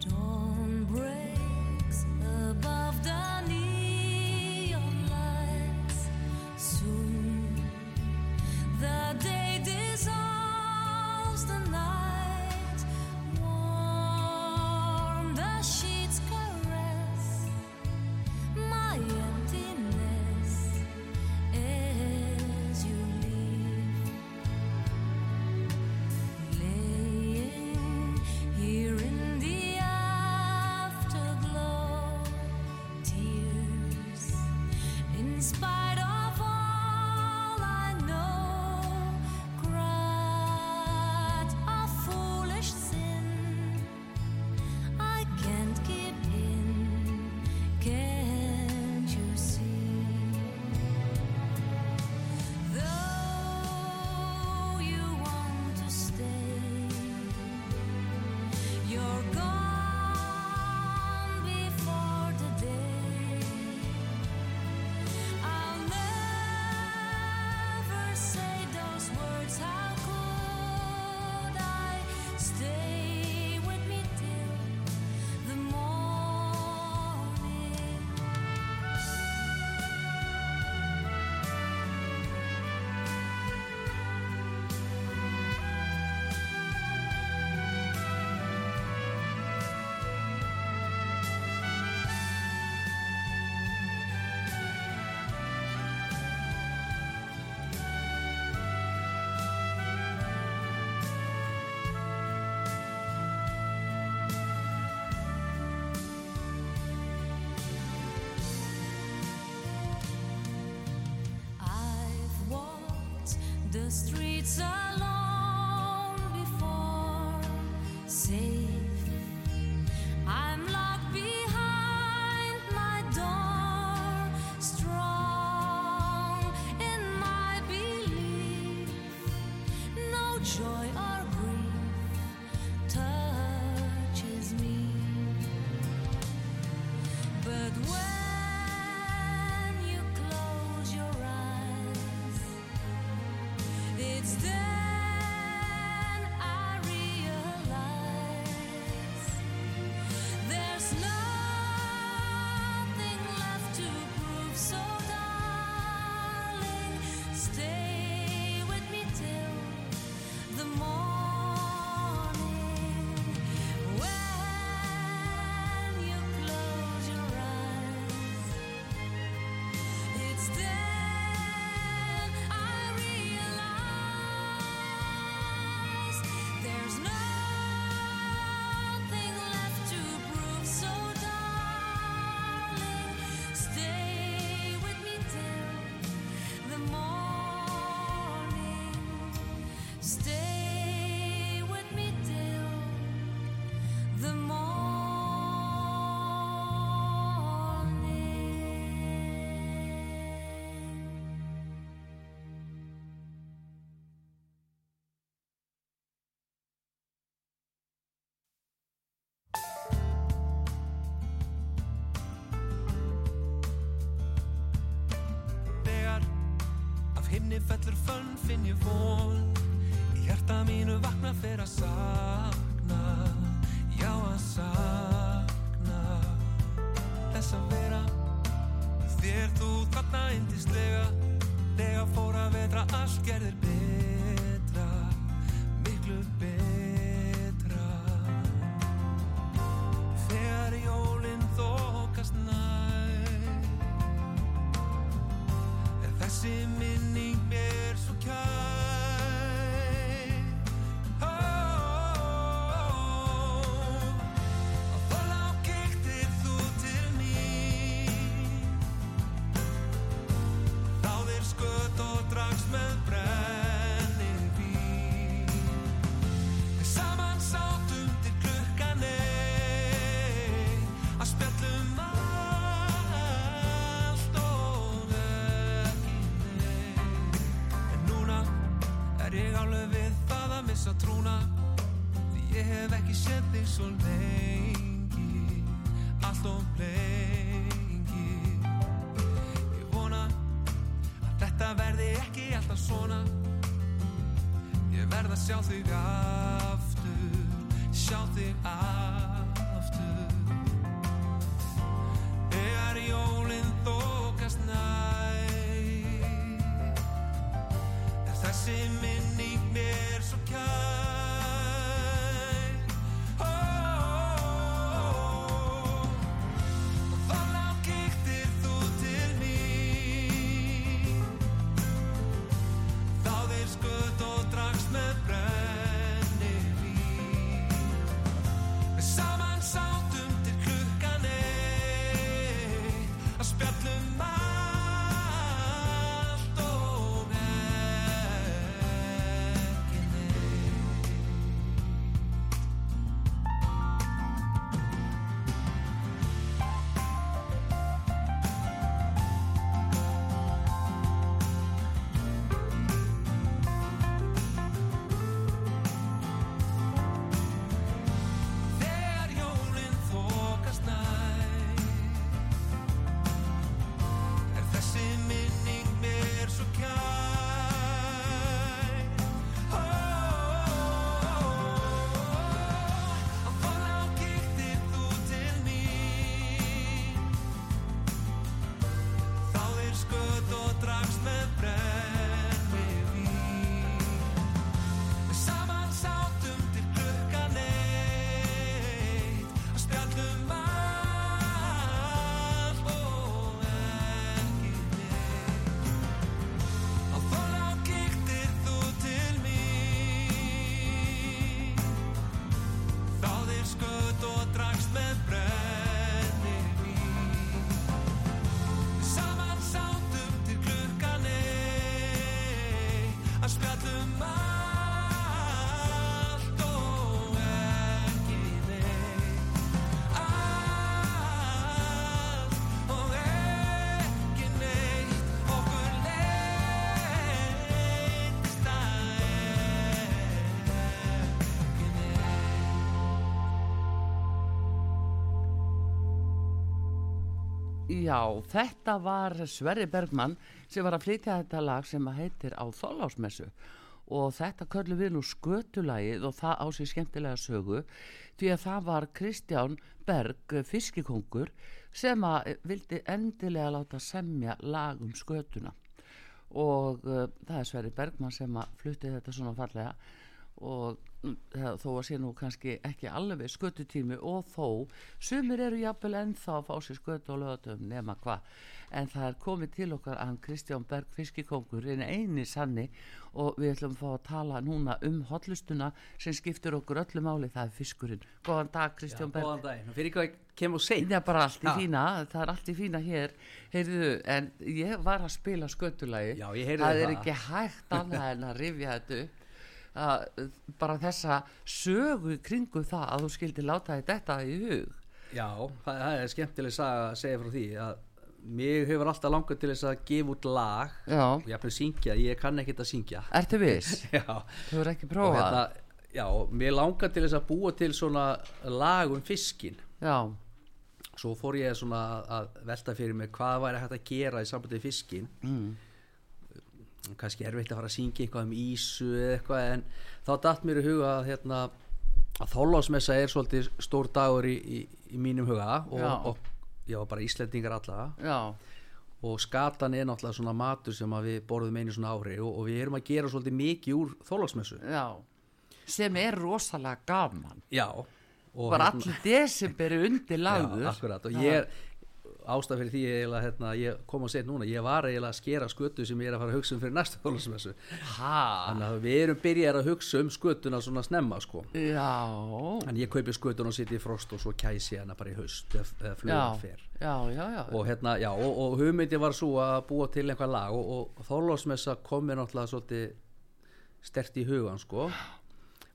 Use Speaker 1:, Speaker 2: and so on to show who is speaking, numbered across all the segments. Speaker 1: Dawn breaks above the neon lights. Soon the day dissolves the night. Warm the sheets caress my emptiness as you leave. Laying here in the afterglow, tears. In spite of all I know, cried a foolish sin. I can't give in. Can't you see? Though you want to stay, you're gone before the day. I'll never say those words. How could I stay with me till the morning? I've walked the streets alone before, safe. I'm locked behind my door, strong in my belief. No joy or grief touches me. But when you close your eyes, it's then I realize there's nothing left to prove. So, darling, stay with me till the morning. When you close your eyes, it's then I realize there's nothing left to prove. So, darling, stay with me till the morning. Stay with me till the morning.
Speaker 2: Þegar af himni fellur fönn finn ég von Í hjarta mínu vakna fyrir að sakna Já að sakna Þess að vera með Þér þú þarna indislega Þegar fór að vetra allt gerðir betra Miklu betra Þegar jólin þókast nær Er þessi minning mér svo kær Ó, ó, ó, ó. Að þá langiktir þú missa trúna Því ég hef ekki séð þig svo lengi Allt of lengi Ég vona að þetta verði ekki alltaf svona Ég verð að sjá þig aftur Sjá þig aftur Þegar jólinn þókast nær Er þessi minning mér svo kær Ó, ó, ó, ó. Og þá langíktir þú til mín Þáðir skutt og drakst með brennivín Við saman sátum til klukkan eitt að spjallum allt og ekki neitt. Þegar jólinn þokast nær Er þessi minning mér svo kær Ó, á fólá kíktir þú til mín Þáðir skött og dragst með brenni vín Við saman sátum til klukkan eitt að spjallum allt og ekki neitt. Á Þorlá kíktir þú til mín. Þáðir sköt og drakkst með brennivín. Við saman sátum til klukkan eitt að spjallum allt og ekki neitt. Allt og ekki neitt. Okkur leiddist að ekki neitt.
Speaker 3: Já, þetta var Sverri Bergmann sem var að flytja þetta lag sem að heitir á Þorlásmessu og þetta köllum við nú skötulagið og það á sér skemmtilega sögu því að það var Kristján Berg eh, fiskikongur sem að vildi endilega láta semja lag um skötuna og uh, það er Sverri Bergmann sem að flutti þetta svona fallega og mm, það- þó að sé nú kannski ekki alveg skötutími og þó sumir eru jafnvel ennþá að fá sér skötu og lögatum nema hvað en það er komið til okkar hann Kristján Berg fiskikongur en eini sanni og við ætlum að fá að tala núna um hotlustuna sem skiptir okkur öllu máli það er fiskurinn Góðan dag Kristján Berg
Speaker 4: Góðan daginn, fyrir hvað ég kemur sein
Speaker 3: Það er bara allt í
Speaker 4: Ha.
Speaker 3: fína, það er allt í fína hér, heyrðu, en ég var að spila skötulagi,
Speaker 4: Já, ég heyrði
Speaker 3: það
Speaker 4: það.
Speaker 3: er ekki hægt annað en að rifja þetta upp, að, bara þessa sögu í kringu það að þú skildi láta þér þetta í hug.
Speaker 4: Já, það, það er skemmtileg saga að segja frá því að mér hefur alltaf langað til þess að gefa út lag
Speaker 3: Já.
Speaker 4: og jafnveg syngja, ég kann ekkert að syngja
Speaker 3: Ertu viss?
Speaker 4: Já,
Speaker 3: Þú er ekki
Speaker 4: og
Speaker 3: prófað?
Speaker 4: hérna Já, mér langar til þess að búa til svona lag um fiskin
Speaker 3: Já,
Speaker 4: Svo fór ég svona að velta fyrir mig hvað væri hægt að gera í sambandi við fiskin
Speaker 3: mm.
Speaker 4: kannski erfitt að fara að syngja eitthvað um ísu eða eitthvað en þá datt mér í huga að, hérna, að þólásmessa er svolítið stór dagur í, í, í mínum huga og,
Speaker 3: Já.
Speaker 4: og já, bara Íslendingar alla
Speaker 3: já,
Speaker 4: og skatan er náttúrulega svona matur sem að við borðum einu svona ári og, og við erum að gera svolítið mikið úr þólásmessu
Speaker 3: já, sem er rosalega gaman,
Speaker 4: Já og
Speaker 3: bara
Speaker 4: hérna-
Speaker 3: allir desemberi undir lagður.
Speaker 4: Já, akkurat og ég er ástæð fyrir því ég, eiginlega, hérna, ég kom að segja núna ég var eiginlega að skera skötu sem ég er að fara að hugsa um fyrir næsta þólásmessu
Speaker 3: Ha,
Speaker 4: Þannig að við erum byrjað að hugsa um skötuna svona snemma sko
Speaker 3: já.
Speaker 4: En ég kaupi skutun og sitt í frost og svo kæsi ég hana bara í haust ef,
Speaker 3: Já,
Speaker 4: ef flugan fer.
Speaker 3: já, já, já,
Speaker 4: Og hérna, já, og, og hugmyndi var svo að búa til einhver lag og, og Þorlósmessa kom mér náttúrulega svolítið stert í hugan, sko.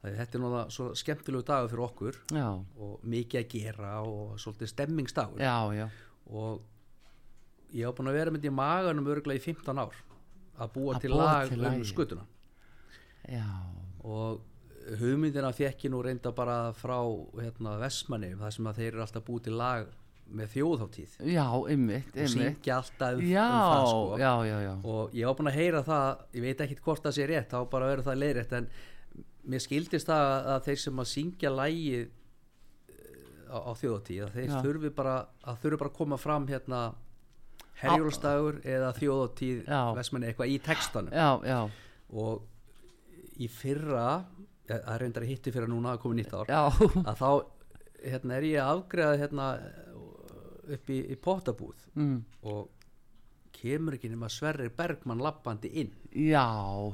Speaker 4: Þegar þetta er náttúrulega svo skemmtilegu dagur fyrir okkur
Speaker 3: já,
Speaker 4: og mikið að gera og svolítið stemmingsdagur.
Speaker 3: já, já.
Speaker 4: Og ég hef búin að vera með þetta í maganum örgulega í 15 ár að búa
Speaker 3: Að
Speaker 4: til
Speaker 3: búa
Speaker 4: lag
Speaker 3: til
Speaker 4: um
Speaker 3: lagið.
Speaker 4: skutuna.
Speaker 3: Já,
Speaker 4: og hugmyndina fekk ég nú reynda bara frá hérna, Vestmanni, þar sem að þeir eru alltaf búið til lag með þjóðháttíð
Speaker 3: já, ymmit,
Speaker 4: og
Speaker 3: ymmit
Speaker 4: syngja alltaf um,
Speaker 3: já,
Speaker 4: um það sko.
Speaker 3: já, já, já
Speaker 4: og ég var búin að heyra það, ég veit ekki hvort það sé rétt, þá bara verður það leiðrétt en mér skildist það að- að þeir sem að syngja lægið eh, á, á þjóðatíð, að þeir
Speaker 3: Já.
Speaker 4: þurfi bara að þurfi bara að koma fram hérna herjólstagur eða þjóðatíð
Speaker 3: Já.
Speaker 4: vestmenni eitthvað í textanum
Speaker 3: já, já,
Speaker 4: og í fyrra eh, að reyndar að hitti fyrra núna að komið nýtt ár
Speaker 3: já
Speaker 4: að þá hérna, er ég að afgreða hérna, upp í, í pottabúð
Speaker 3: mm.
Speaker 4: og kemur ekki nema Sverrir Bergmann lappandi inn
Speaker 3: já,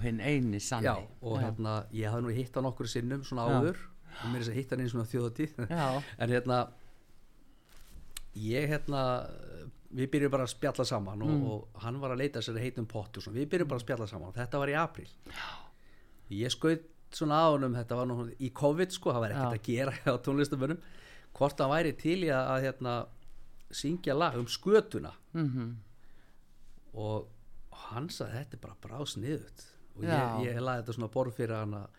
Speaker 3: hinn eini sanni
Speaker 4: já, og hérna, ég hafði nú hitt hann okkur sinnum svona
Speaker 3: Já.
Speaker 4: áður og mér er þess að hitta hann einu svona þjóðatíð
Speaker 3: Já.
Speaker 4: en hérna ég hérna við byrjum bara að spjalla saman
Speaker 3: Mm.
Speaker 4: og, og hann var að leita sér að heitum pottu svona. við byrjum bara að spjalla saman og þetta var í april ég skaut svona á honum þetta var nú í COVID sko, það var ekkert að gera á tónlistamönnum hvort hann væri til í að, að hérna, syngja lag um skötuna
Speaker 3: Mhm.
Speaker 4: og hann sagði þetta er bara brásniðut og
Speaker 3: Já.
Speaker 4: ég, ég laði þetta svona borð fyrir hann að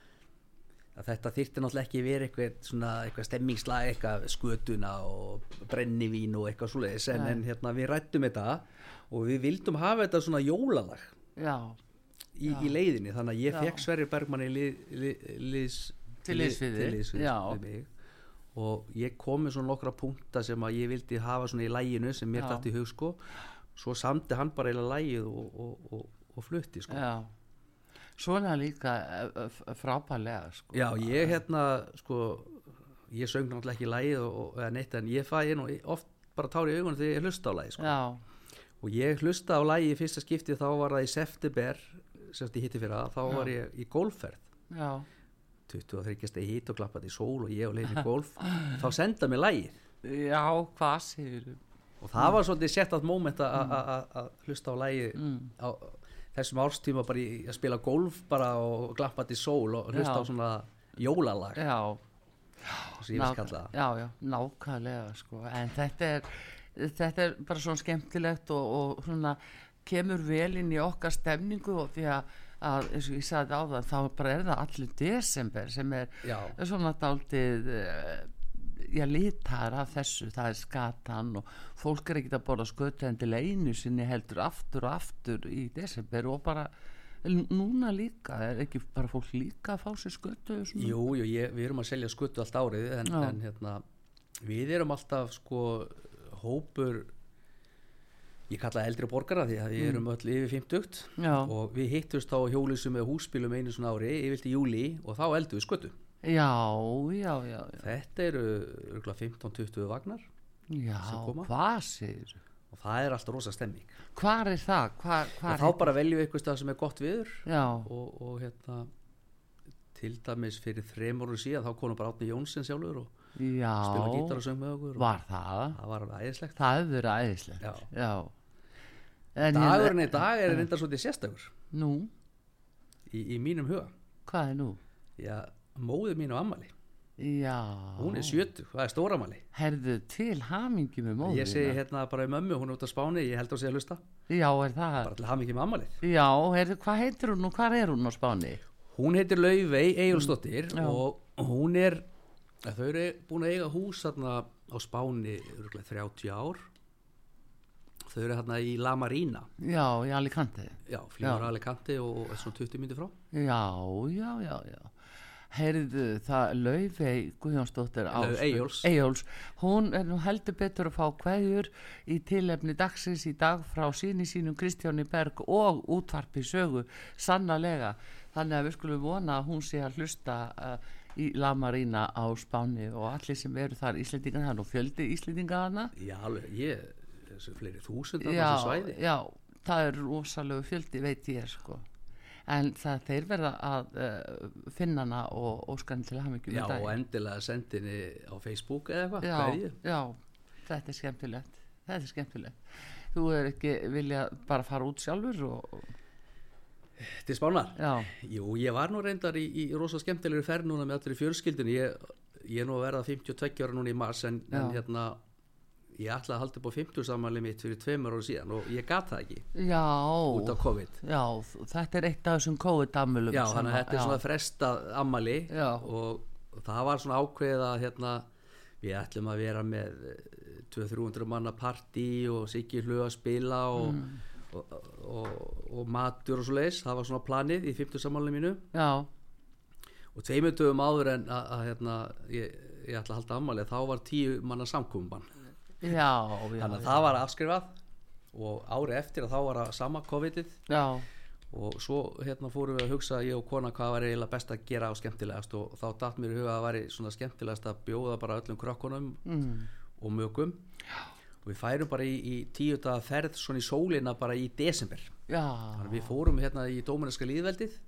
Speaker 4: að þetta þyrfti náttúrulega ekki verið eitthvað, svona, eitthvað stemmingslag, eitthvað skötuna og brennivín og eitthvað svoleiðis en, en hérna við rættum þetta og við vildum hafa þetta svona jólalag
Speaker 3: já,
Speaker 4: í, í leiðinni þannig að ég
Speaker 3: Já.
Speaker 4: fekk Sverri Bergmann í lið, lið, liðs,
Speaker 3: Til liðs við
Speaker 4: til
Speaker 3: þig,
Speaker 4: liðs við-
Speaker 3: já.
Speaker 4: við mig og ég kom með svona nokkra punkta sem að ég vildi hafa svona í læginu sem mér
Speaker 3: Já.
Speaker 4: dætti í hug sko svo samti hann bara eiginlega lægið og, og, og, og flutti sko
Speaker 3: já svona líka eh, eh, frábærlega sko.
Speaker 4: Já, ég hérna sko, ég söng náttúrulega ekki lægið og, og, eða neitt en ég fæði nú oft bara tári í augunum þegar ég hlusta á lægið sko.
Speaker 3: já,
Speaker 4: og ég hlusta á lægið í fyrsta skipti þá var það í september semst ég hitti fyrir það, þá var ég í golfferð
Speaker 3: já,
Speaker 4: 23 stegi hít og klappandi í sól og ég og leiðin í golf þá senda mér lægið
Speaker 3: já, hvað segir
Speaker 4: og það var svolítið sett átt moment að- að að- að hlusta á lægið á þessum árstíma bara í, að spila golf bara og glampandi sól og hlusta
Speaker 3: Já.
Speaker 4: á svona jólalag
Speaker 3: já
Speaker 4: sem ég vil
Speaker 3: Nák-
Speaker 4: kalla það
Speaker 3: já, já, nákvæmlega sko. en þetta er, þetta er bara svona skemmtilegt og, og svona, kemur vel inn í okkar stemningu og því að, að eins og ég sagði á það þá bara er það allir desember sem er
Speaker 4: Já.
Speaker 3: svona daldið ég lítar af þessu, það er skatan og fólk er ekkert að borða skötlendilega einu sinni heldur aftur og aftur í desember og bara núna líka, er ekki bara fólk líka að fá sér skötu svona?
Speaker 4: Jú, jú, ég, við erum að selja skuttu allt árið en,
Speaker 3: Já.
Speaker 4: en hérna, við erum alltaf sko hópur ég kalla það eldri borgara því að við erum öll yfir 50
Speaker 3: Mm. Já.
Speaker 4: og við hittumst þá á hjólusum með húsbílum einu svona ári yfir til júli og þá eldum við skuttu
Speaker 3: Já, já, já, já,
Speaker 4: þetta eru 15-20 vagnar
Speaker 3: já,
Speaker 4: Sem koma.
Speaker 3: hvað segir?
Speaker 4: og það er alltaf rosa stemming
Speaker 3: Hvar er það? Hvar, hvar
Speaker 4: og þá bara veljum við eitthvað stað sem er gott viður
Speaker 3: Já,
Speaker 4: og, og hérna til dæmis fyrir þremur og síðan þá konum bara Átni Jónsson sjálfur og
Speaker 3: já,
Speaker 4: spila gítar og söng með okkur og
Speaker 3: var það?
Speaker 4: það var alveg æðislegt
Speaker 3: Það hefur verið æðislegt,
Speaker 4: Já.
Speaker 3: En
Speaker 4: Dagurinn
Speaker 3: hérna-
Speaker 4: í dag er reyndar svolítið sérstakur
Speaker 3: Nú,
Speaker 4: í, í mínum huga.
Speaker 3: hvað er nú?
Speaker 4: Já, móðu mínu ammali,
Speaker 3: Já,
Speaker 4: hún er 70, það er stóramali.
Speaker 3: herðu til hamingi með móðina.
Speaker 4: Ég segi hérna bara um ömmu, hún er út á Spáni, ég held að sé að hlusta.
Speaker 3: Já, er það?
Speaker 4: Bara til hafa mikið með ammalið.
Speaker 3: Já, herðu, hvað heitir hún og hvað er hún á Spáni?
Speaker 4: Hún heitir Laufey Egilsdóttir
Speaker 3: Já.
Speaker 4: og hún er, að þau eru búin að eiga hús þarna á Spáni örugglega 30 ár. Þau eru hérna í La Marina,
Speaker 3: Já, í Alicante.
Speaker 4: já, fljóra Alicante og og svona 20 myndi frá.
Speaker 3: Já, já, já, já. Heyrðu, það Laufey Guðjónsdóttir
Speaker 4: Lau-
Speaker 3: Ásbjörg-
Speaker 4: Eyjólfs.
Speaker 3: Eyjóls, hún er nú heldur betur að fá kveðjur í tilefni dagsins í dag frá síni sínum Kristjáni Berg og útvarpi sögu sannlega. Þannig að við skulum vona að hún sé að hlusta uh, í La Marina á Spáni og allir sem eru þar Íslendingan, það er nú fjöldi Íslendinga þarna.
Speaker 4: Já, alveg, ég, þessu fleiri þúsund á þessu
Speaker 3: Já,
Speaker 4: svæði.
Speaker 3: já, það er rosalegu fjöldi veit ég sko en það þeir verða að uh, finna hana og óskan til að hafa mikið
Speaker 4: Já, og endilega sendinni á Facebook eða eitthvað,
Speaker 3: já,
Speaker 4: hverju?
Speaker 3: já, þetta er skemmtilegt þetta er skemmtilegt þú er ekki vilja bara fara út sjálfur og, og-
Speaker 4: Til Spánar?
Speaker 3: já,
Speaker 4: Jú, ég var nú reyndar í, í rosa skemmtilegri ferð núna með allir í fjölskyldinu. Ég, ég er nú að verða 52 ára núna í mars en, en
Speaker 3: Já.
Speaker 4: hérna, ég ætlaði að halda upp á 50 samanlega mitt fyrir tveimur ára síðan og ég gat það ekki út
Speaker 3: já,
Speaker 4: af COVID
Speaker 3: já, þetta er eitt af þessum COVID-ammulum
Speaker 4: Já, þannig að þetta er svona frestað ammali
Speaker 3: Já.
Speaker 4: og það var svona ákveðið að hérna, við ætlum að vera með eh, 200-300 manna partí og Siggi hlu að spila og,
Speaker 3: Mm.
Speaker 4: og, og, og matur og svo leis, það var svona planið í 50 sammálinu mínu
Speaker 3: Já,
Speaker 4: og tveimur dögum áður en að, að hérna, ég, ég ætla að halda ammali þá var 10 manna samkumban
Speaker 3: já, já, já,
Speaker 4: þannig að það var afskrifað og ári eftir að þá var að sama COVID-ið
Speaker 3: já.
Speaker 4: og svo hérna fórum við að hugsa ég og kona hvað var eiginlega best að gera á skemmtilegast og þá datt mér í huga að það væri svona skemmtilegast að bjóða bara öllum krökkunum mm. og mögum og við færum bara í, í tíu daga ferð svona í sólina bara í desember
Speaker 3: Já,
Speaker 4: þannig að við fórum hérna í Dóminarska líðveldið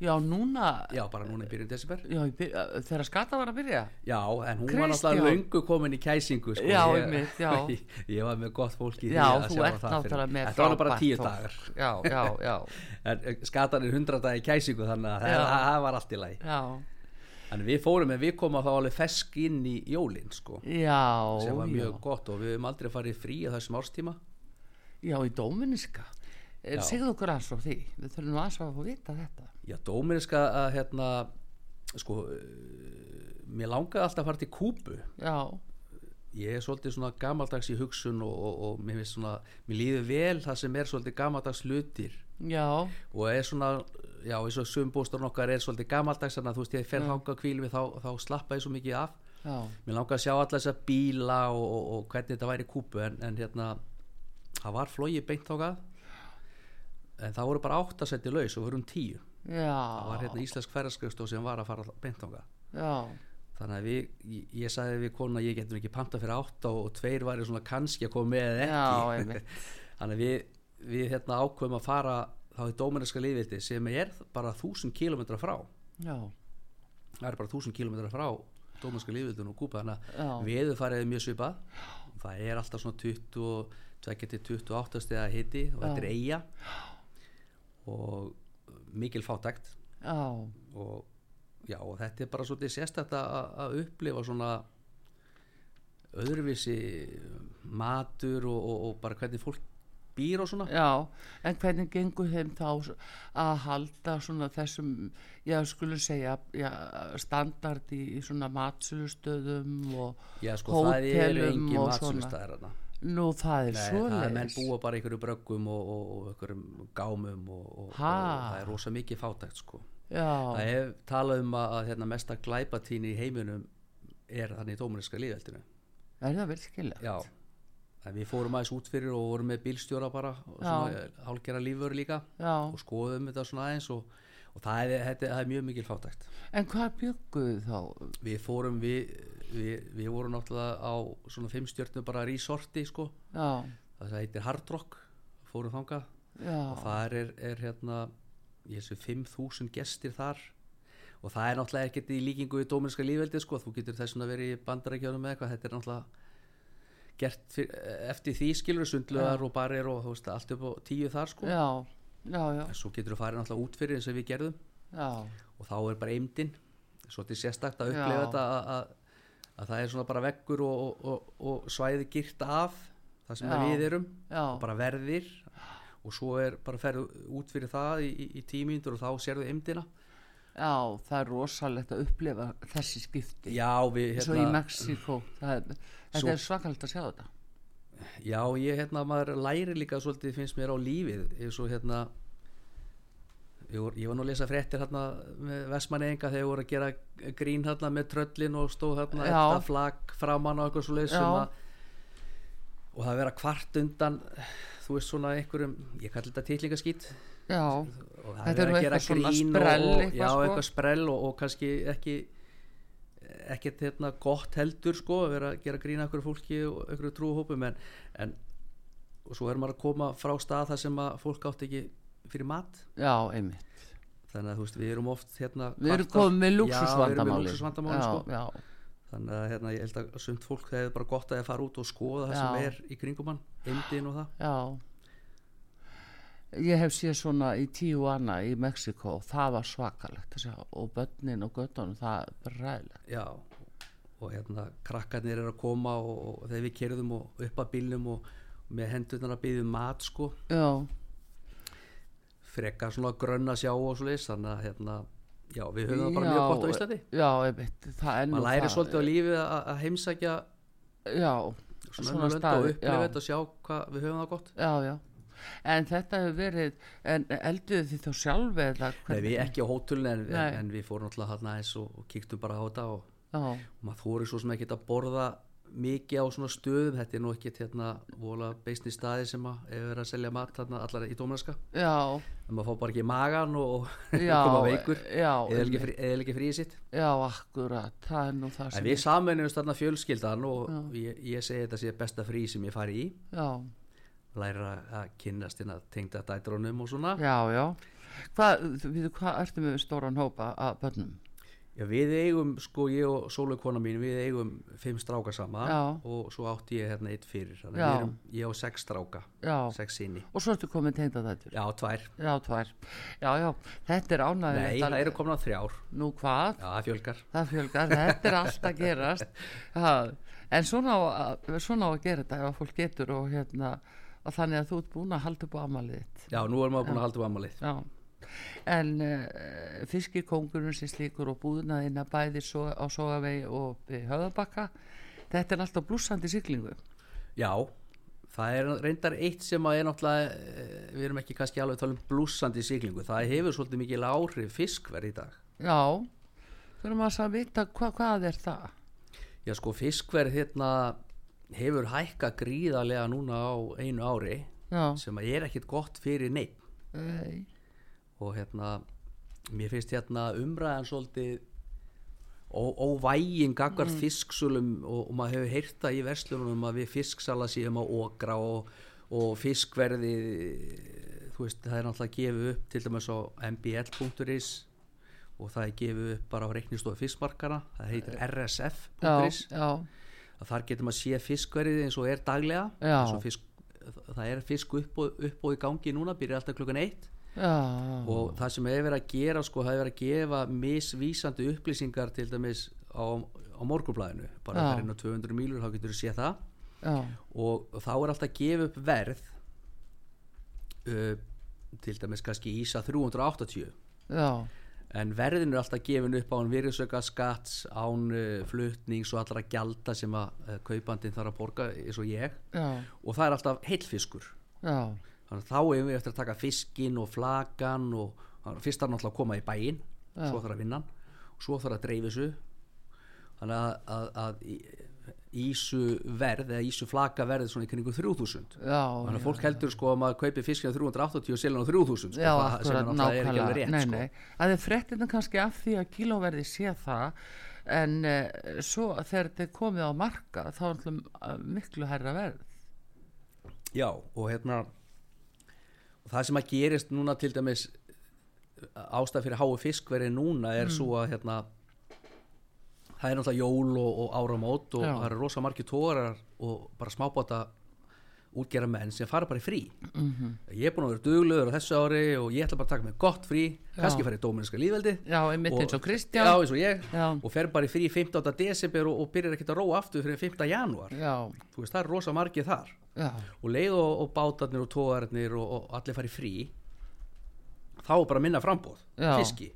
Speaker 3: já, núna
Speaker 4: já bara núna í byrjun desember
Speaker 3: já, ég byr- uh, þegar skata var að byrja
Speaker 4: já en hún
Speaker 3: Kristján.
Speaker 4: var náttúrulega löngu komin í kæsingu sko.
Speaker 3: Já,
Speaker 4: ég,
Speaker 3: einmitt, já.
Speaker 4: ég, var með gott fólki
Speaker 3: Já, þú ert náttúrulega með
Speaker 4: þetta var nú bara
Speaker 3: frábært
Speaker 4: tíu
Speaker 3: fólk.
Speaker 4: dagar
Speaker 3: Já, já, já,
Speaker 4: en eh, skatan er hundra daga í kæsingu þannig að
Speaker 3: Já.
Speaker 4: það- það það var allt í lagi
Speaker 3: já
Speaker 4: En við fórum en við komum þá alveg fesk inn í jólinn sko
Speaker 3: Já,
Speaker 4: sem var mjög
Speaker 3: já.
Speaker 4: gott og við höfum aldrei farið frí á þessum árstíma
Speaker 3: já, í Dóminiska
Speaker 4: Já.
Speaker 3: Segðu okkur aðeins frá því Við þurfum nú aðeins að fá að vita þetta
Speaker 4: Já, dómiriska að hérna sko uh, mér langaði alltaf að fara til Kúbu
Speaker 3: Já,
Speaker 4: ég er svolítið svona gamaldags í hugsun og, og, og mér finnst svona mér líður vel það sem er svolítið gamaldags hlutir
Speaker 3: já,
Speaker 4: og er svona já, eins og sumbústurinn okkar er svolítið gamaldags þannig að þú veist ég fer hanga kvíl við þá, þá slappa ég svo mikið af
Speaker 3: já
Speaker 4: Mér langaði að sjá alla þessa bíla og, og, og hvernig þetta væri í kúpu en, en hérna, það var flogið beint þákað en það voru bara áttasetti laus og vorum tíu það var
Speaker 3: Já,
Speaker 4: hérna íslensk ferðarskriftó sem var að fara beint þákað
Speaker 3: já,
Speaker 4: þannig að við, ég, ég sagði við konu að ég getum ekki panta fyrir átta og, og tveir væri svona kannski að koma með eða
Speaker 3: Já,
Speaker 4: ekki
Speaker 3: einmitt.
Speaker 4: þannig að við, við hérna ákveðum að fara þá í dóminiska liðvildi sem er bara þúsund kilometra frá
Speaker 3: já
Speaker 4: það er bara 1000 km frá Dómanska lífvildun og Kúpa þannig
Speaker 3: Já.
Speaker 4: að veðurfarið er mjög svipað það er alltaf svona 22 til 28 stiga hiti og þetta er eiga og mikil fátækt
Speaker 3: Já,
Speaker 4: og, já, og þetta er bara svolítið sérstætt að- að að upplifa svona öðruvísi matur og, og, og bara hvernig fólk býr og svona
Speaker 3: já, en hvernig gengur þeim þá s- að halda svona þessum, já, skulum segja, já, standard í, í svona matsölustöðum og
Speaker 4: já, sko, það eru
Speaker 3: hótelum
Speaker 4: engin
Speaker 3: og svona.
Speaker 4: matsölustæðir þarna
Speaker 3: Nú það er
Speaker 4: Nei,
Speaker 3: svo
Speaker 4: það er menn búa bara í einhverju bröggum og, og, og einhverjum gámum og, og, og
Speaker 3: Ha.
Speaker 4: það er rosa mikið fátækt sko.
Speaker 3: Já,
Speaker 4: Það er talað um að, að hérna, mesta glæpatín í heiminum er þannig í tómuniska líðveldinu.
Speaker 3: er það vel skilja?
Speaker 4: Já, en við fórum aðeins út fyrir og vorum með bílstjóra bara og svona hálgera lífur líka
Speaker 3: Já,
Speaker 4: og skoðum þetta svona aðeins og, og það, er, þetta, það er mjög mikil fátækt.
Speaker 3: en hvað bygguðu þá?
Speaker 4: Við fórum, við, við, við vorum náttúrulega á svona fimm stjörnum bara resorti sko,
Speaker 3: Já,
Speaker 4: það heitir Hard Rock, fórum þangað
Speaker 3: já,
Speaker 4: og þar er, er hérna ég sé 5.000 gestir þar og það er náttúrulega ekkert í líkingu í dóminska lífveldið sko, þú getur þess að vera í bandarækjörnum eða eitthvað, þetta er náttúrulega gert fyr, eh, eftir því skilur sundluðar og barir og þú veist allt upp á tíu þar sko,
Speaker 3: já, já, já,
Speaker 4: en svo getur þú farið náttúrulega út fyrir eins og við gerðum
Speaker 3: já,
Speaker 4: og þá er bara eimdin, svo þetta er sérstakt að
Speaker 3: Já.
Speaker 4: upplefa þetta að, að, að það er svona bara veggur og, og, og, og svæði girt af það sem
Speaker 3: Já.
Speaker 4: við erum og
Speaker 3: já,
Speaker 4: bara verðir og svo er bara ferðu út fyrir það í, í- í tímyndur og þá sérðu eimdina
Speaker 3: já, það er rosalegt að upplifa þessi skipti.
Speaker 4: já, við,
Speaker 3: Svo í
Speaker 4: hérna,
Speaker 3: Mexíkó, það er, þetta
Speaker 4: Svo-
Speaker 3: er svakalegt að sjá þetta.
Speaker 4: já, ég, hérna, maður læri líka svolítið finnst mér á lífið eins og hérna ég var, ég var nú að lesa fréttir hérna með Vestmanninga þegar ég voru að gera grín hérna með tröllin og stóð hérna
Speaker 3: Já.
Speaker 4: þetta flagg framann og eitthvað svo
Speaker 3: Já.
Speaker 4: leysum að og það að vera kvart undan þú veist svona einhverjum ég kalli þetta titlingaskýt
Speaker 3: Já,
Speaker 4: Og það
Speaker 3: þetta er
Speaker 4: verið
Speaker 3: nú
Speaker 4: að gera
Speaker 3: eitthvað svona
Speaker 4: grín
Speaker 3: sprell,
Speaker 4: og,
Speaker 3: eitthvað
Speaker 4: já,
Speaker 3: sko.
Speaker 4: eitthvað sprell og, og kannski ekki ekkert hérna gott heldur sko að vera að gera grína ykkur fólki og ykkur trúhópum en, en og svo er maður að koma frá stað þar sem að fólk átt ekki fyrir mat
Speaker 3: já, einmitt.
Speaker 4: þannig að þú veist við erum oft hérna
Speaker 3: Við erum
Speaker 4: kvartað-
Speaker 3: komið með
Speaker 4: Já, við erum með
Speaker 3: luxusvandamáli.
Speaker 4: lúksusvandamáli sko.
Speaker 3: Já,
Speaker 4: þannig að hérna, ég held að sumt fólk hefur bara gott að fara út og skoða það
Speaker 3: Já.
Speaker 4: sem er í kringum hann, indin og það
Speaker 3: já, já. Ég hef séð svona í Tijuana í Mexíkó, það var svakalegt að sjá og börnin og göttunum, það er bara ræðilegt.
Speaker 4: Já, og hérna krakkarnir eru að koma og, og þegar við kerðum og upp að bílnum og, og með hendurnar að byggja mat sko
Speaker 3: já,
Speaker 4: frekar svona grönn að sjá og svo þannig að hérna, já, við höfum það bara mjög gott á Íslandi
Speaker 3: já, einmitt, það er nú
Speaker 4: maður læri
Speaker 3: það, eh,
Speaker 4: svolítið á lífið að að heimsækja
Speaker 3: já,
Speaker 4: svona, svona
Speaker 3: staði,
Speaker 4: og
Speaker 3: já.
Speaker 4: upplifa þetta og sjá hvað við höfum það gott
Speaker 3: já, já en þetta hefur verið en elduðu þið þá sjálf eða
Speaker 4: Nei, við ekki á hótelin en, en,
Speaker 3: Nei.
Speaker 4: en við fórum alltaf hann aðeins og, og kíktum bara á þetta og,
Speaker 3: já,
Speaker 4: og maður þóri svo sem ekki að borða mikið á svona stöðum þetta er nú ekkert hérna vola beisni staði sem að hefur verið að selja mat þarna allar í Dómaraska
Speaker 3: já,
Speaker 4: en maður fá bara ekki í magan og, og
Speaker 3: já
Speaker 4: koma veikur
Speaker 3: já,
Speaker 4: eða ekki fríið sitt
Speaker 3: já, akkurat, það er nú það
Speaker 4: en
Speaker 3: sem
Speaker 4: við saminumst þarna fjölskyldan og ég, ég segi þetta sé besta frí sem ég fari í
Speaker 3: já,
Speaker 4: læra að kynnast hérna tengda dætrónum og svona
Speaker 3: já, já hvað, við, hvað ertu með stóran hópa að börnum
Speaker 4: Já, við eigum, sko, ég og Sólu kona mín, við eigum fimm stráka sama
Speaker 3: Já.
Speaker 4: og svo átti ég hérna eitt fyrir. Þannig
Speaker 3: Já.
Speaker 4: við erum, ég á sex stráka,
Speaker 3: Já.
Speaker 4: sex sinni.
Speaker 3: og svo ertu komin tengd að þetta
Speaker 4: Já, tvær.
Speaker 3: já, tvær, já, já, þetta er
Speaker 4: Nei,
Speaker 3: ánægilegt
Speaker 4: það eru komin á þrjár.
Speaker 3: nú hvað,
Speaker 4: Já, það fjölgar.
Speaker 3: það fjölgar, þetta er allt að gerast ha, en svona á, að- svona á að gera þetta ef að fólk getur og hérna og þannig að þú ert búin að halda upp á amalið þitt
Speaker 4: Já, nú erum við búin að halda um ammalið.
Speaker 3: já en uh, fiskikongurinn sem slíkur og búðnaðina bæði so á Sogavegi og upp í Höðabakka þetta er alltaf blúsandi siglingu
Speaker 4: Já, það er reyndar eitt sem að er náttúrulega, eh, við erum ekki kannski alveg að tala um blúsandi siglingu. Það hefur svolítið mikil áhrif fiskverð í dag.
Speaker 3: já þurfum að að vita hva, hvað er það
Speaker 4: Já, sko, fiskverð hérna hefur hækka gríðarlega núna á einu ári
Speaker 3: já,
Speaker 4: sem að er ekkit gott fyrir neitt.
Speaker 3: Nei.
Speaker 4: og hérna mér finnst hérna umræðan svolítið ó- óvægin gagvart mm. fisksölum og, og maður hefur heyrta í verslunum að við fisksala séum á okra og, og fiskverði þú veist það er náttúrulega gefið upp til dæmis á mbl.is og það er gefið upp bara á reiknistofu fiskmarkana það heitir
Speaker 3: já,
Speaker 4: rsf.is
Speaker 3: já,
Speaker 4: að þar getur maður sé fiskverðið eins og er daglega
Speaker 3: Já.
Speaker 4: Eins og fisk, það er fisk upp og, upp og í gangi núna byrja alltaf klukkan eitt
Speaker 3: já
Speaker 4: og það sem hefur verið að gera sko, það hefur verið að gefa misvísandi upplýsingar til dæmis á, á morgunblæðinu bara
Speaker 3: Já.
Speaker 4: það er inn á 200 mílur, þá getur þú séð það
Speaker 3: já,
Speaker 4: og þá er alltaf að gefa upp verð uh, til dæmis kannski ísa 380
Speaker 3: já,
Speaker 4: en verðin er alltaf gefin upp án virðsöka skatts, án uh, flutnings og allra gjalda sem að uh, kaupandinn þarf að borga eins og ég
Speaker 3: já,
Speaker 4: og það er alltaf heilfiskur
Speaker 3: já,
Speaker 4: þannig að þá hefum við eftir að taka fiskinn og flakan og þannig að fyrst þarf náttúrulega að koma í bæinn svo þarf að vinna hann og svo þarf að dreifu þessu þannig að, að, að í- ísu verð eða ísu flaka verð svona í kringu 3000
Speaker 3: já,
Speaker 4: þannig að fólk heldur sko að maður kaupi fiskinn á 380 og selja hann á 3000 sko,
Speaker 3: Já,
Speaker 4: það sem er
Speaker 3: akkurat,
Speaker 4: náttúrulega er ekki
Speaker 3: nákvæmlega
Speaker 4: alveg rétt
Speaker 3: nei,
Speaker 4: sko.
Speaker 3: nei. að þið frettina kannski af því að kílóverði sé það en uh, svo þegar þið komið á marka þá er alltaf miklu herra verð
Speaker 4: Já, og hérna og það sem að gerist núna til dæmis ástæð fyrir háu fiskveri núna
Speaker 3: Mm.
Speaker 4: er svo að hérna það er náttúrulega jól og, og áramót og
Speaker 3: Já.
Speaker 4: það eru rosa margir tórar og bara smábáta útgera menn sem fara bara í frí -hmm.
Speaker 3: Mhm.
Speaker 4: ég er búin að vera duglegur á þessu ári og ég ætla bara að taka mig gott frí kannski fara í dómininska lífveldi
Speaker 3: Já, einmitt eins og Kristján.
Speaker 4: já, eins og ég,
Speaker 3: Já.
Speaker 4: og fer bara í frí 15. desember og, og byrjar ekkert að róa aftur fyrir 5. janúar
Speaker 3: já,
Speaker 4: þú veist, það er rosa margir þar
Speaker 3: já,
Speaker 4: og leið og, og bátarnir og tóarnir og, og allir farið frí þá er bara minna frambóð
Speaker 3: Já. Mm.
Speaker 4: fiski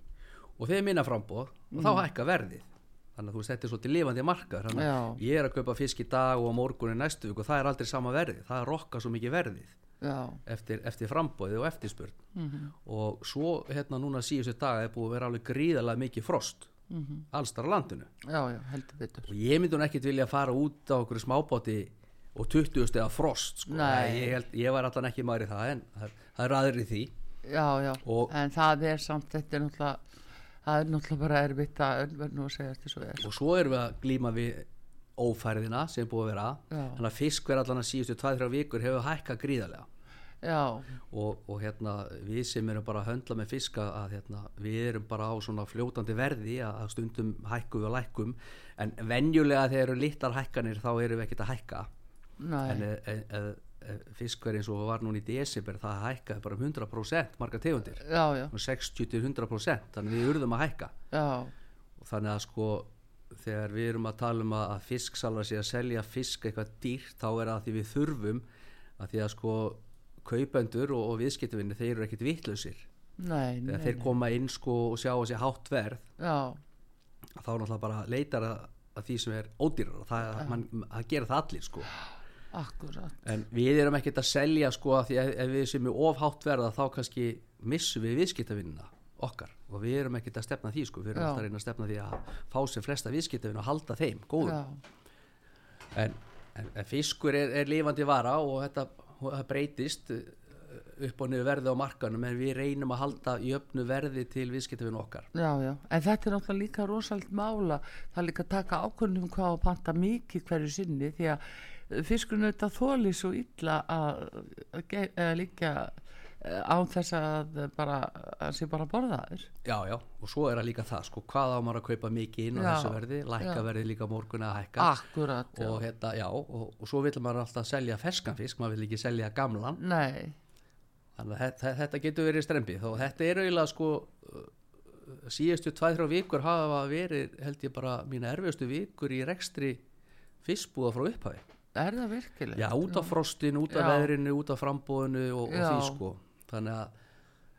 Speaker 4: og þegar er minna frambóð og þá hækka verðið þannig að þú veist þetta er svolítið lifandi markar þannig að
Speaker 3: Já.
Speaker 4: ég er að kaupa fisk í dag og á morgun í næstu vik og það er aldrei sama verðið það rokka svo mikið verðið
Speaker 3: já
Speaker 4: eftir, eftir frambóðið og eftirspurn
Speaker 3: Mhm.
Speaker 4: og svo hérna núna síðustu daga er búið að vera alveg gríðalega mikið frost mm
Speaker 3: Mhm.
Speaker 4: -hmm. allstar á landinu
Speaker 3: já, já, heldur betur
Speaker 4: og ég myndi hún ekkert vilja fara út á okkur smábáti og 20 stega frost sko.
Speaker 3: Nei.
Speaker 4: ég, held, ég var allan ekki maður í það en það, það er aðri því
Speaker 3: já, já,
Speaker 4: Og-
Speaker 3: en það er samt þetta er náttúrulega það er náttúrulega bara erfitt að verður nú að segja þetta svo er
Speaker 4: og svo erum við að glíma við ófærðina sem er búið að vera
Speaker 3: Já.
Speaker 4: þannig að fiskverð allan að síðustu 2-3 vikur hefur hækkað gríðarlega
Speaker 3: já,
Speaker 4: og, og hérna við sem erum bara að höndla með fiska að hérna, við erum bara á svona fljótandi verði að að stundum hækkum við og lækkum en venjulega þegar eru littar hækkanir þá erum við ekkert að hækka en
Speaker 3: næ,
Speaker 4: e, e, e, e, fiskverð eins og var núna í desember það hækkaði bara um 100% marga tegundir
Speaker 3: já, já,
Speaker 4: Svona 60-100% þannig við urðum að hækka
Speaker 3: já
Speaker 4: og þannig að sko þegar við erum að tala um að, að fisksalar sé að selja fisk eitthvað dýrt þá er það því við þurfum að því að sko kaupendur og, og viðskiptavinni þeir eru ekkit vitlausir
Speaker 3: nei, nei,
Speaker 4: þegar þeir koma inn sko og sjá að sé hátt verð
Speaker 3: já,
Speaker 4: að þá náttúrulega bara leitar að, að því sem er ódýrar það, man, það gera það allir sko
Speaker 3: akkurat
Speaker 4: en við erum ekkert að selja sko að því ef, ef við sem er ofhátt verða þá kannski missum við viðskiptavinnina okkar og við erum ekkert að stefna að því sko við erum
Speaker 3: Já.
Speaker 4: alltaf að reyna að stefna að því að fá sem flesta viðskiptavinn og halda þeim góðum
Speaker 3: já,
Speaker 4: en, en, en fiskur er, er lifandi vara og þetta og það breytist uh, upp og niður verði á markanum en við reynum að halda jöfnu verði til viðskiptavinn okkar
Speaker 3: já, já en þetta er náttúrulega líka rosalt mála það er líka að taka ákvörðunum hvað á að panta mikið hverju sinni því að eh, fiskurinn auðvitað þóli svo illa að, að, ge- að líka án þess að bara að sé bara borðaður
Speaker 4: Já, já, og svo er það líka það, sko, hvað á maður að kaupa mikið inn á
Speaker 3: Já,
Speaker 4: þessu verði, lækka
Speaker 3: já. Ah,
Speaker 4: verði líka á morgun að hækka
Speaker 3: akkurat, já,
Speaker 4: og hérna, já, og, og svo vil maður alltaf selja ferskan fisk, maður vil ekki selja gamlan,
Speaker 3: nei
Speaker 4: þannig að þetta, þetta getur verið strempið og þetta er auðvitað, sko, uh, síðustu 2-3 vikur hafa verið, held ég bara, mína erfiðustu vikur í rekstri fiskbúða frá upphafi.
Speaker 3: er það virkilega
Speaker 4: Já, út af frostinu, út af
Speaker 3: Já.
Speaker 4: veðrinu, út af frambúðinu og, og
Speaker 3: Já.
Speaker 4: því, sko, þannig að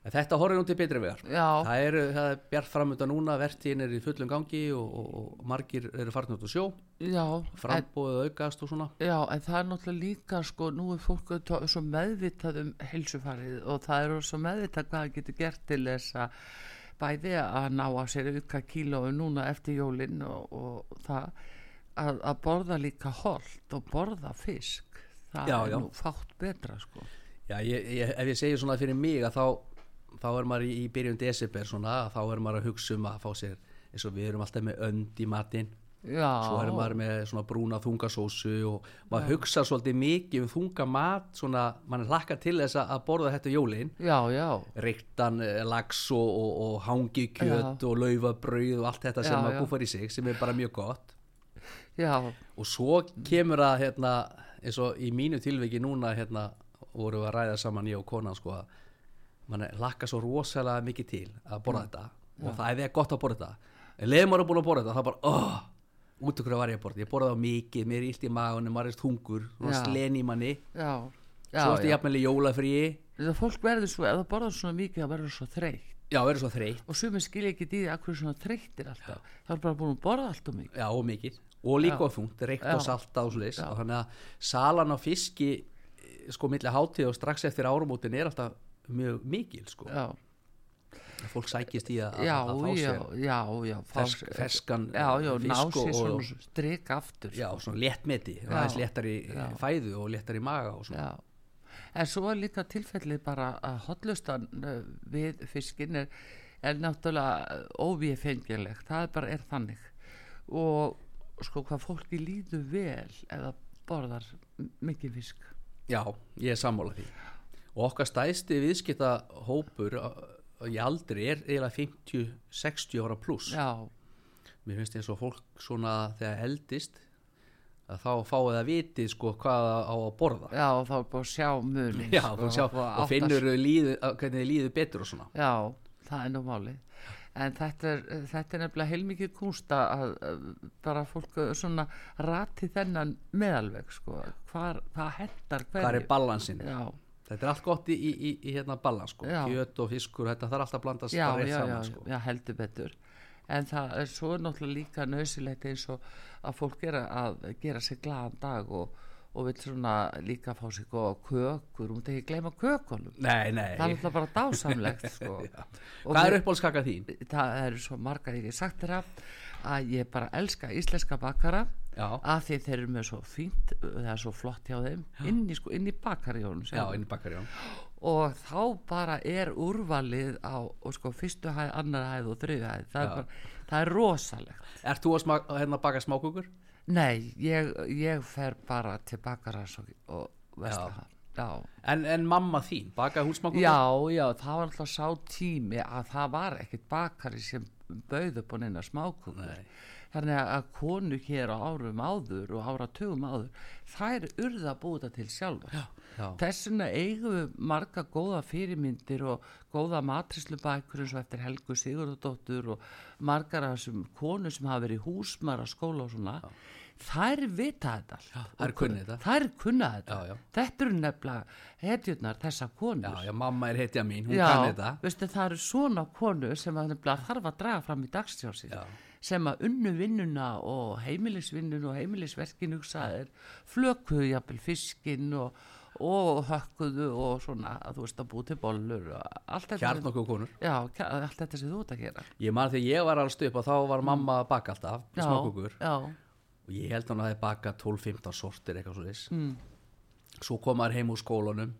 Speaker 4: en þetta horfir nú til betri vegar.
Speaker 3: Já.
Speaker 4: Það er, það er bjart framönda núna, vertíðin er í fullum gangi og, og, og margir eru farin út á sjó,
Speaker 3: já, en,
Speaker 4: frambúið aukast og svona.
Speaker 3: já, en það er náttúrulega líka sko, nú er fólk auðvitað svo meðvitað um heilsufarið og það er svo meðvitað hvað það getur gert til þess að bæði að ná að sér auka kílóu núna eftir jólin og, og það að, að borða líka holt og borða fisk það
Speaker 4: Já,
Speaker 3: er
Speaker 4: já.
Speaker 3: nú fátt betra sko
Speaker 4: Já, ég, ég, ef ég segi svona fyrir mig að þá, þá er maður í, í byrjun desember svona, þá er maður að hugsa um að fá sér, eins og við erum alltaf með önd í matinn,
Speaker 3: já,
Speaker 4: svo er maður með svona brúna þungasósu og maður hugsa svolítið mikið um þungamat, svona, mann hlakkar til þess að að borða þetta um jólin.
Speaker 3: já, já,
Speaker 4: reyktan eh, lax og, og, og hangikjöt og laufabrauð og allt þetta sem
Speaker 3: Já,
Speaker 4: maður
Speaker 3: já.
Speaker 4: búfar í sig sem er bara mjög gott
Speaker 3: já
Speaker 4: og svo kemur að hérna, eins og í mínu tilviki núna hérna, voru að ræða saman ég og konan sko að mann lakka svo rosalega mikið til að borða þetta og það er gott að borða þetta en leiðum maður er búin að borða þetta þá bara oh, út okkur var ég að borða, ég borða þá mikið mér er illt í magunum, maður er þungur
Speaker 3: Já.
Speaker 4: slén í manni,
Speaker 3: já, já,
Speaker 4: svo ertu
Speaker 3: já.
Speaker 4: jafnvel í jólafríi
Speaker 3: Það fólk verður svo, ef það borðar svona mikið það verður svo þreytt
Speaker 4: já, verður svo þreytt
Speaker 3: og sumir skilja ekki því að hverju svona þreyttir alltaf það er bara búin að borða alltaf mikið
Speaker 4: Já, og mikið. Og líka þungt, reykt og
Speaker 3: Já.
Speaker 4: salta og svoleiðis. Og þannig að salan á fiski, eh, sko, milli hátíð og strax eftir árumótin er alltaf mjög mikil, sko.
Speaker 3: já,
Speaker 4: Fólk sækist í að,
Speaker 3: já,
Speaker 4: að, að fá
Speaker 3: já,
Speaker 4: sér
Speaker 3: já, já fá
Speaker 4: fersk-
Speaker 3: sér-
Speaker 4: ferskan
Speaker 3: já, já,
Speaker 4: eh,
Speaker 3: ná
Speaker 4: fisk
Speaker 3: sér
Speaker 4: og- og-
Speaker 3: svona strik aftur
Speaker 4: já, svona léttmeti, aðeins léttar í fæðu og léttar í maga og svona.
Speaker 3: Já. En svo er líka tilfellið bara að hotlustan uh, við fiskinn er, er náttúrulega óvífengileg, það er bara er þannig. Og sko hvað fólki líður vel eða borðar m- mikið fisk.
Speaker 4: Já, ég er sammála því. Og okkar stæðsti viðskipta hópur í aldri er eiginlega 50-60 ára pluss.
Speaker 3: Já,
Speaker 4: mér finnst eins og fólk svona þegar eldist að þá fáið að viti sko hvað á að borða
Speaker 3: já og þá er bara að sjá sko, muni.
Speaker 4: já, og, sjá, og finnur líð, hvernig þið líður betur og svona
Speaker 3: Já, það er nú málið. En þetta er, þetta er nefnilega heilmikið kúnsta að eh, bara fólk eh, svona rati þennan meðalveg, sko. Hvar, hvað hendar hverju?
Speaker 4: hvað er balansinn,
Speaker 3: Já,
Speaker 4: þetta er allt gott í, í, í, í hérna balans sko,
Speaker 3: Já.
Speaker 4: kjöt og fiskur þetta þarf alltaf að blanda
Speaker 3: já,
Speaker 4: starrið
Speaker 3: já, já,
Speaker 4: saman sko
Speaker 3: já, heldur betur en það er svo náttúrulega líka nöðsilegt eins og að fólk gera að gera sér glaðan dag og, og vil svona líka fá sér góða kökur, hún ekki gleyma kökunum
Speaker 4: nei, nei,
Speaker 3: það er náttúrulega bara dásamlegt sko. Og
Speaker 4: hvað er
Speaker 3: við-
Speaker 4: uppáhaldskaka þín
Speaker 3: það eru svo margar ég hef sagt þér af að ég bara elska íslenska bakara
Speaker 4: Já.
Speaker 3: að því þeir eru með svo fínt það er svo flott hjá þeim inn í, sko, inn í bakarjónum
Speaker 4: já, inn í bakkarjón
Speaker 3: og þá bara er úrvalið á og sko, fyrstu hæð, annar hæð og þriðu hæð það, er, bara, það er rosalegt
Speaker 4: ert þú að smak, hérna, baka smákukur?
Speaker 3: nei, ég, ég fer bara til bakarans og, og
Speaker 4: Já.
Speaker 3: vesla það
Speaker 4: En, en mamma þín, bakaði hún
Speaker 3: já.
Speaker 4: smákukur?
Speaker 3: já, já, það var alltaf sá tími að það var ekkit bakari sem bauð upp á neina smákukur þannig að- að konu hér á árum áður og áratugum áður þær urða að búta til sjálfur já,
Speaker 4: já.
Speaker 3: þess vegna eigum við marga góða fyrirmyndir og góða matrislubækur eins og eftir Helgu Sigurðardóttur og margar af þessum konu sem hafa verið húsmar að skóla og svona þær vita þetta allt.
Speaker 4: þær kunna þetta.
Speaker 3: þær kunna þetta
Speaker 4: Já, já.
Speaker 3: þetta eru nefnilega hetjurnar þessa konur
Speaker 4: já, já, mamma er hetja mín, hún
Speaker 3: Já,
Speaker 4: kann þetta
Speaker 3: veistu, það eru svona konu sem að nefnilega þarf að draga fram í dagstjálsið
Speaker 4: Já.
Speaker 3: sem að unnu vinnuna og heimilisvinnun og heimilisverkin hugsaðir flökuðu jafnvel fiskinn og, og hökkuðu og svona að þú veist að búi til bollur og allt þetta
Speaker 4: Kjarn okkur konur
Speaker 3: Já, kjarn- allt þetta sem þú ert að gera
Speaker 4: Ég man þegar ég var alveg upp og þá var mamma að baka alltaf,
Speaker 3: Já,
Speaker 4: smákukur
Speaker 3: Já,
Speaker 4: og ég held hann að það er bakað 12-15 sortir eitthvað svo þess mm. svo komaður heim úr skólanum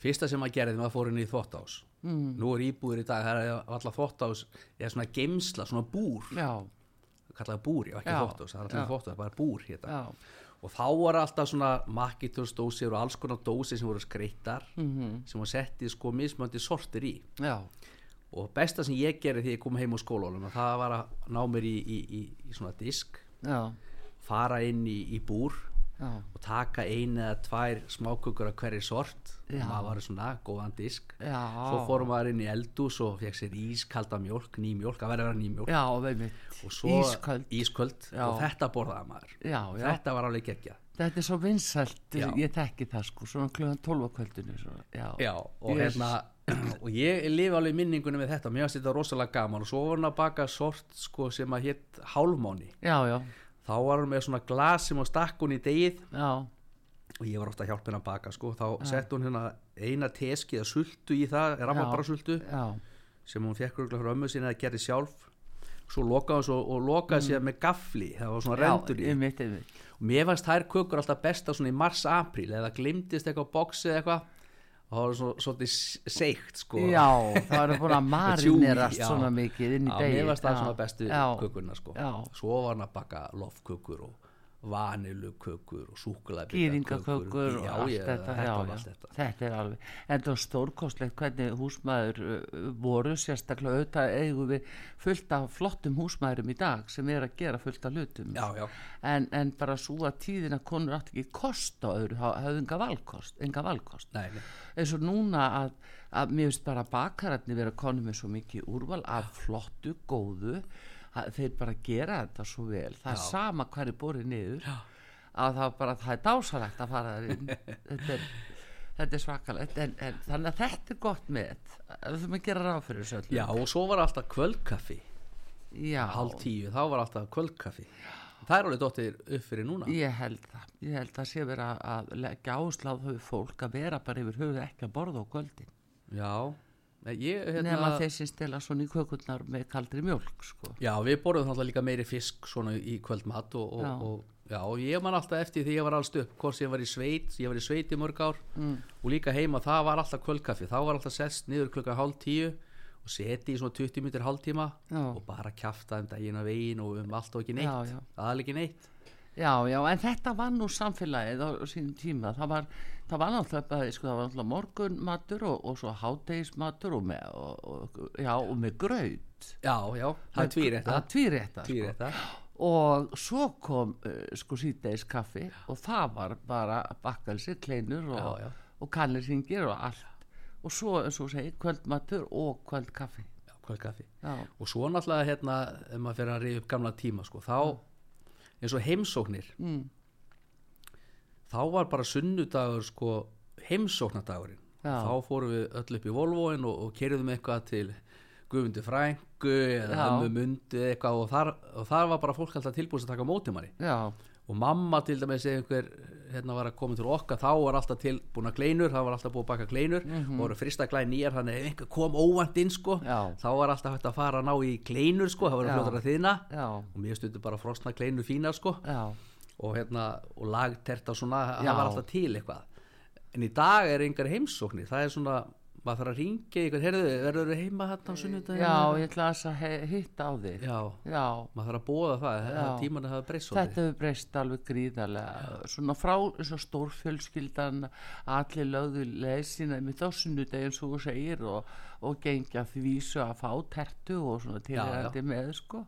Speaker 4: fyrsta sem maður gerði maður fór inn í þvottás mm. nú er íbúður í dag það er alltaf þvottás eða svona gemsla, svona búr
Speaker 3: já,
Speaker 4: kallaði búr, já ekki
Speaker 3: Já,
Speaker 4: þvottás, það er
Speaker 3: já.
Speaker 4: alltaf þvottás, bara búr hérna
Speaker 3: já,
Speaker 4: og þá var alltaf svona makitursdósir og alls konar dósir sem voru skreittar -hmm. sem var settið sko mismöndi sortir í
Speaker 3: já
Speaker 4: og besta sem ég gerði þegar ég kom heim úr skólanum að það var að ná mér í, í, í, í svona disk
Speaker 3: Já,
Speaker 4: fara inn í, í búr
Speaker 3: já,
Speaker 4: og taka eina eða tvær smákökur af hverri sort
Speaker 3: Já.
Speaker 4: maður var svona góðan disk
Speaker 3: já
Speaker 4: svo fór maður inn í eldús og fekk sér ískalda mjólk, ný mjólk, það verið að vera ný mjólk
Speaker 3: Já, veimitt,
Speaker 4: og svo
Speaker 3: ísköld
Speaker 4: ísköld
Speaker 3: Já.
Speaker 4: og þetta borðaði maður
Speaker 3: Já, já,
Speaker 4: þetta var alveg geggja
Speaker 3: Þetta er svo vinsælt,
Speaker 4: Já.
Speaker 3: ég þekki það sko, svona klugan 12 á kvöldinu. Svona. Já,
Speaker 4: og,
Speaker 3: Yes.
Speaker 4: hérna, og ég lifi alveg minningunum við þetta mér finnst þetta rosalega gaman og svo var hann að baka sort sko, sem að hétt hálmóni
Speaker 3: já, já,
Speaker 4: þá var hann með svona glas sem á stakkun í degið
Speaker 3: já,
Speaker 4: og ég var ofta að hjálpa henni að baka sko, þá sett hún hérna eina teskiða sultu í það, rammabrasultu
Speaker 3: já,
Speaker 4: sem hún fekk röglega frá ömmu sinni að gerði sjálf svo lokaði hún svo og lokaði sér með gafli það var svona rendur
Speaker 3: Mm.
Speaker 4: í
Speaker 3: já, einmitt, einmitt.
Speaker 4: og mér fannst þær kökur alltaf besta svona í mars-april eða glimtist eitthvað bóksi eða eitthvað og það var svona svolítið s- seikt sko
Speaker 3: Já, það eru búin að marinerast
Speaker 4: já.
Speaker 3: svona mikið inn í
Speaker 4: Já,
Speaker 3: degi.
Speaker 4: mér fannst það svona bestu
Speaker 3: já,
Speaker 4: kökurna sko
Speaker 3: Já,
Speaker 4: svo var hann að baka lofkökur og vanilukökur og súkulæbitakökur
Speaker 3: gýðingakökur og
Speaker 4: já,
Speaker 3: allt
Speaker 4: ég,
Speaker 3: þetta.
Speaker 4: þetta
Speaker 3: já,
Speaker 4: var
Speaker 3: já.
Speaker 4: allt þetta
Speaker 3: Þetta er alveg, en það var stórkostlegt hvernig húsmaður uh, voru sérstaklega auðvitað eigum við fullt af flottum húsmaðurum í dag sem er að gera fullt af hlutum.
Speaker 4: já, já,
Speaker 3: en, en bara sú að tíðin að konur átt ekki kost á öðru, þá hafði enga valkost, enga valkost.
Speaker 4: nei, nei.
Speaker 3: eins og núna að, að mér finnst bara bakararnir vera konum með svo mikið úrval af flottu, góðu að þeir bara gera þetta svo vel það er sama hver er borið niður Já. að það bara, það er dásalegt að fara þar inn þetta er, þetta er svakalegt en, en þannig að þetta er gott með við þurfum að gera ráð fyrir þessu
Speaker 4: já,
Speaker 3: öllu
Speaker 4: og svo var alltaf kvöldkaffi
Speaker 3: Já.
Speaker 4: hálf tíu, þá var alltaf kvöldkaffi það er alveg dóttir upp fyrir núna
Speaker 3: Ég held það, ég held það sé verið að- að leggja ásláð höfu fólk að vera bara yfir höfu ekki að borða á kvöldin
Speaker 4: já, Nei, ég,
Speaker 3: nema
Speaker 4: hérna,
Speaker 3: þeir sem stela svona í kökurnar með kaldri mjólk sko.
Speaker 4: já við borðum alltaf líka meiri fisk svona í kvöldmat og, og,
Speaker 3: Já.
Speaker 4: og, já, og ég man alltaf eftir því ég var alltaf upp hvort sem ég var í sveit, ég var í sveit í mörg ár
Speaker 3: Mm.
Speaker 4: og líka heima, það var alltaf kvöldkaffi þá var alltaf sest niður klukkan hálf tíu og seti í svona 20 minnir hálftíma
Speaker 3: Já.
Speaker 4: og bara kjafta um daginn að veginn og um allt og ekki
Speaker 3: Já,
Speaker 4: neitt
Speaker 3: já.
Speaker 4: aðal ekki neitt
Speaker 3: Já, já, en þetta var nú samfélagið á, á sínum tíma, það var, það var náttúrulega, bara, sko, það var náttúrulega morgunmatur og, og svo hátegismatur og með, og, og, já, og með graut
Speaker 4: já, já, það er tvýr þetta
Speaker 3: Það er tvírétta, sko.
Speaker 4: Tvírétta.
Speaker 3: Og svo kom uh, sko síðdeis kaffi og það var bara bakkelsi, kleinur og,
Speaker 4: Já, já.
Speaker 3: og kannelsingir og allt. Og svo, eins og þú segir, kvöldmatur og kvöldkaffi.
Speaker 4: Já, kvöldkaffi
Speaker 3: Já,
Speaker 4: og svo náttúrulega hérna ef maður fyrir að reyða upp gamla tíma sko, þá eins og heimsóknir
Speaker 3: Mm.
Speaker 4: þá var bara sunnudagur sko, heimsóknadagurinn
Speaker 3: Já.
Speaker 4: þá fórum við öll upp í Volvoin og, og kerðum eitthvað til Guðmundur Frængu eða
Speaker 3: Já.
Speaker 4: ömmu Mundu eða eitthvað og þar, og þar var bara fólk alltaf tilbúið að taka á móti manni
Speaker 3: já,
Speaker 4: og mamma til dæmis eða einhver hérna var að koma til okkar þá var alltaf tilbúna kleinur það var alltaf búið að baka kleinur og voru frista glæð nýjar þannig ef einhver kom óvænt inn sko
Speaker 3: Mhm. Já.
Speaker 4: þá var alltaf hægt að fara að ná í kleinur sko það var
Speaker 3: Já.
Speaker 4: að fljóta að þýðna
Speaker 3: já,
Speaker 4: og mér stundu bara frosna kleinur fínar sko
Speaker 3: já,
Speaker 4: og hérna og lagterta svona
Speaker 3: Já.
Speaker 4: það var alltaf til eitthvað en í dag er engar heimsóknir það er svona maður þarf að ringja eitthvað, heyrðu, verður þú heima hérna á sunnudaginn?
Speaker 3: já, ég ætla þess að he- hitta á þig
Speaker 4: Já,
Speaker 3: já.
Speaker 4: maður þarf að bóða það, það
Speaker 3: Já.
Speaker 4: tíman að hafa breyst
Speaker 3: Þetta hefur breyst alveg gríðarlega svona frá þess að stórfjölskyldan allir lögðu leið sína með þossundudegin svo þú segir og, og gengja því vísu að fá tertu og svona tilhætti með sko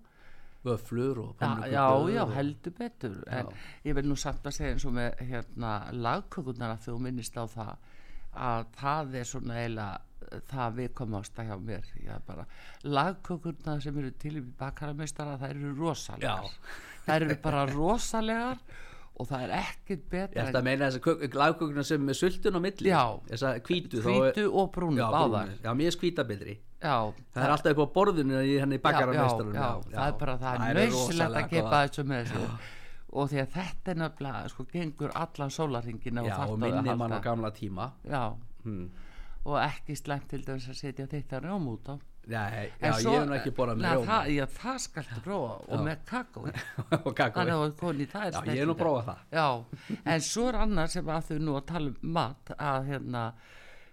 Speaker 4: Vöflur og
Speaker 3: Já,
Speaker 4: pönnukökur
Speaker 3: já, já,
Speaker 4: og-
Speaker 3: heldur betur en
Speaker 4: Já.
Speaker 3: ég vil nú samt að segja eins og með hérna lagkökunar að þú minnist á það að það er svona eiginlega eh, það viðkomast að hjá mér ég er bara, lagkökurnar sem eru til í bakarameistara, það eru rosalegar
Speaker 4: Já.
Speaker 3: það eru bara rosalegar og það er ekkit
Speaker 4: Ég
Speaker 3: betra
Speaker 4: ætla að meina þess að lagkökuna sem er með sultun á milli
Speaker 3: Já.
Speaker 4: Þess að hvítu þá er-
Speaker 3: hvítu og brúnu
Speaker 4: Já,
Speaker 3: báðar
Speaker 4: brúnu. Já, mér er skvíta betri
Speaker 3: já,
Speaker 4: Það er alltaf upp á borðinu í henni
Speaker 3: já, já,
Speaker 4: bakarameistarunum
Speaker 3: já, það er bara það er nöðsilegt að gefa þessu með þessu og því að þetta er nefnilega sko gengur allan sólaringina og
Speaker 4: Já, og
Speaker 3: þarft á því
Speaker 4: minni
Speaker 3: að
Speaker 4: mann á
Speaker 3: halda
Speaker 4: gamla Hmm. tíma
Speaker 3: já, og ekki slæmt til dæmis að setja þetta rjóm út á
Speaker 4: Nei,
Speaker 3: En
Speaker 4: já, ég hef nú ekki borðað með
Speaker 3: Nei,
Speaker 4: rjóma
Speaker 3: það, já, það skaltu prófa og með kakó
Speaker 4: og kakói
Speaker 3: þannig að koni, það er
Speaker 4: Já,
Speaker 3: snerting.
Speaker 4: ég hef nú prófað það.
Speaker 3: já, en svo er annað sem að þau nú að tala um mat að hérna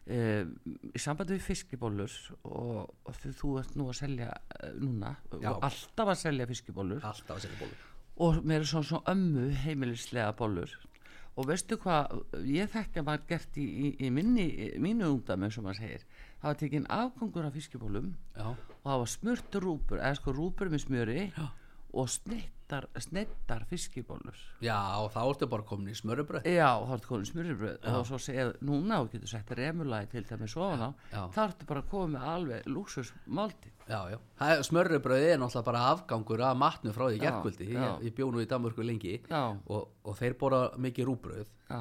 Speaker 3: um, í sambandi við fiskibólur og, og þú, þú ert nú að selja uh, núna
Speaker 4: Já.
Speaker 3: og alltaf að selja fiskibólur
Speaker 4: Alltaf að segja bólur
Speaker 3: og mér er svona, svona ömmu heimilislega bollur og veistu hvað, ég þekki að maður gert í, í, í minni, mínu ungdæmi eins og maður segir, það var tekin afgangur af fiskibólum
Speaker 4: Já,
Speaker 3: og það var smurt rúpur eða sko rúpur með smjöri og snittar, snittar fiskibólur
Speaker 4: já og þá ertu bara komin í smörubröð
Speaker 3: já, þá ertu komin smjörurbröð og svo segja, núna og getur sett remulagi til dæmis ofan á,
Speaker 4: Já.
Speaker 3: þá ertu bara að koma með alveg lúksusmáldi
Speaker 4: Já, já, Það er- smörrebrauð er náttúrulega bara afgangur af matnu frá því
Speaker 3: Já,
Speaker 4: gerkvöldi
Speaker 3: já.
Speaker 4: Ég, ég bjó nú í Danmörku lengi
Speaker 3: Já.
Speaker 4: og, og þeir borða mikið rúbröð
Speaker 3: já,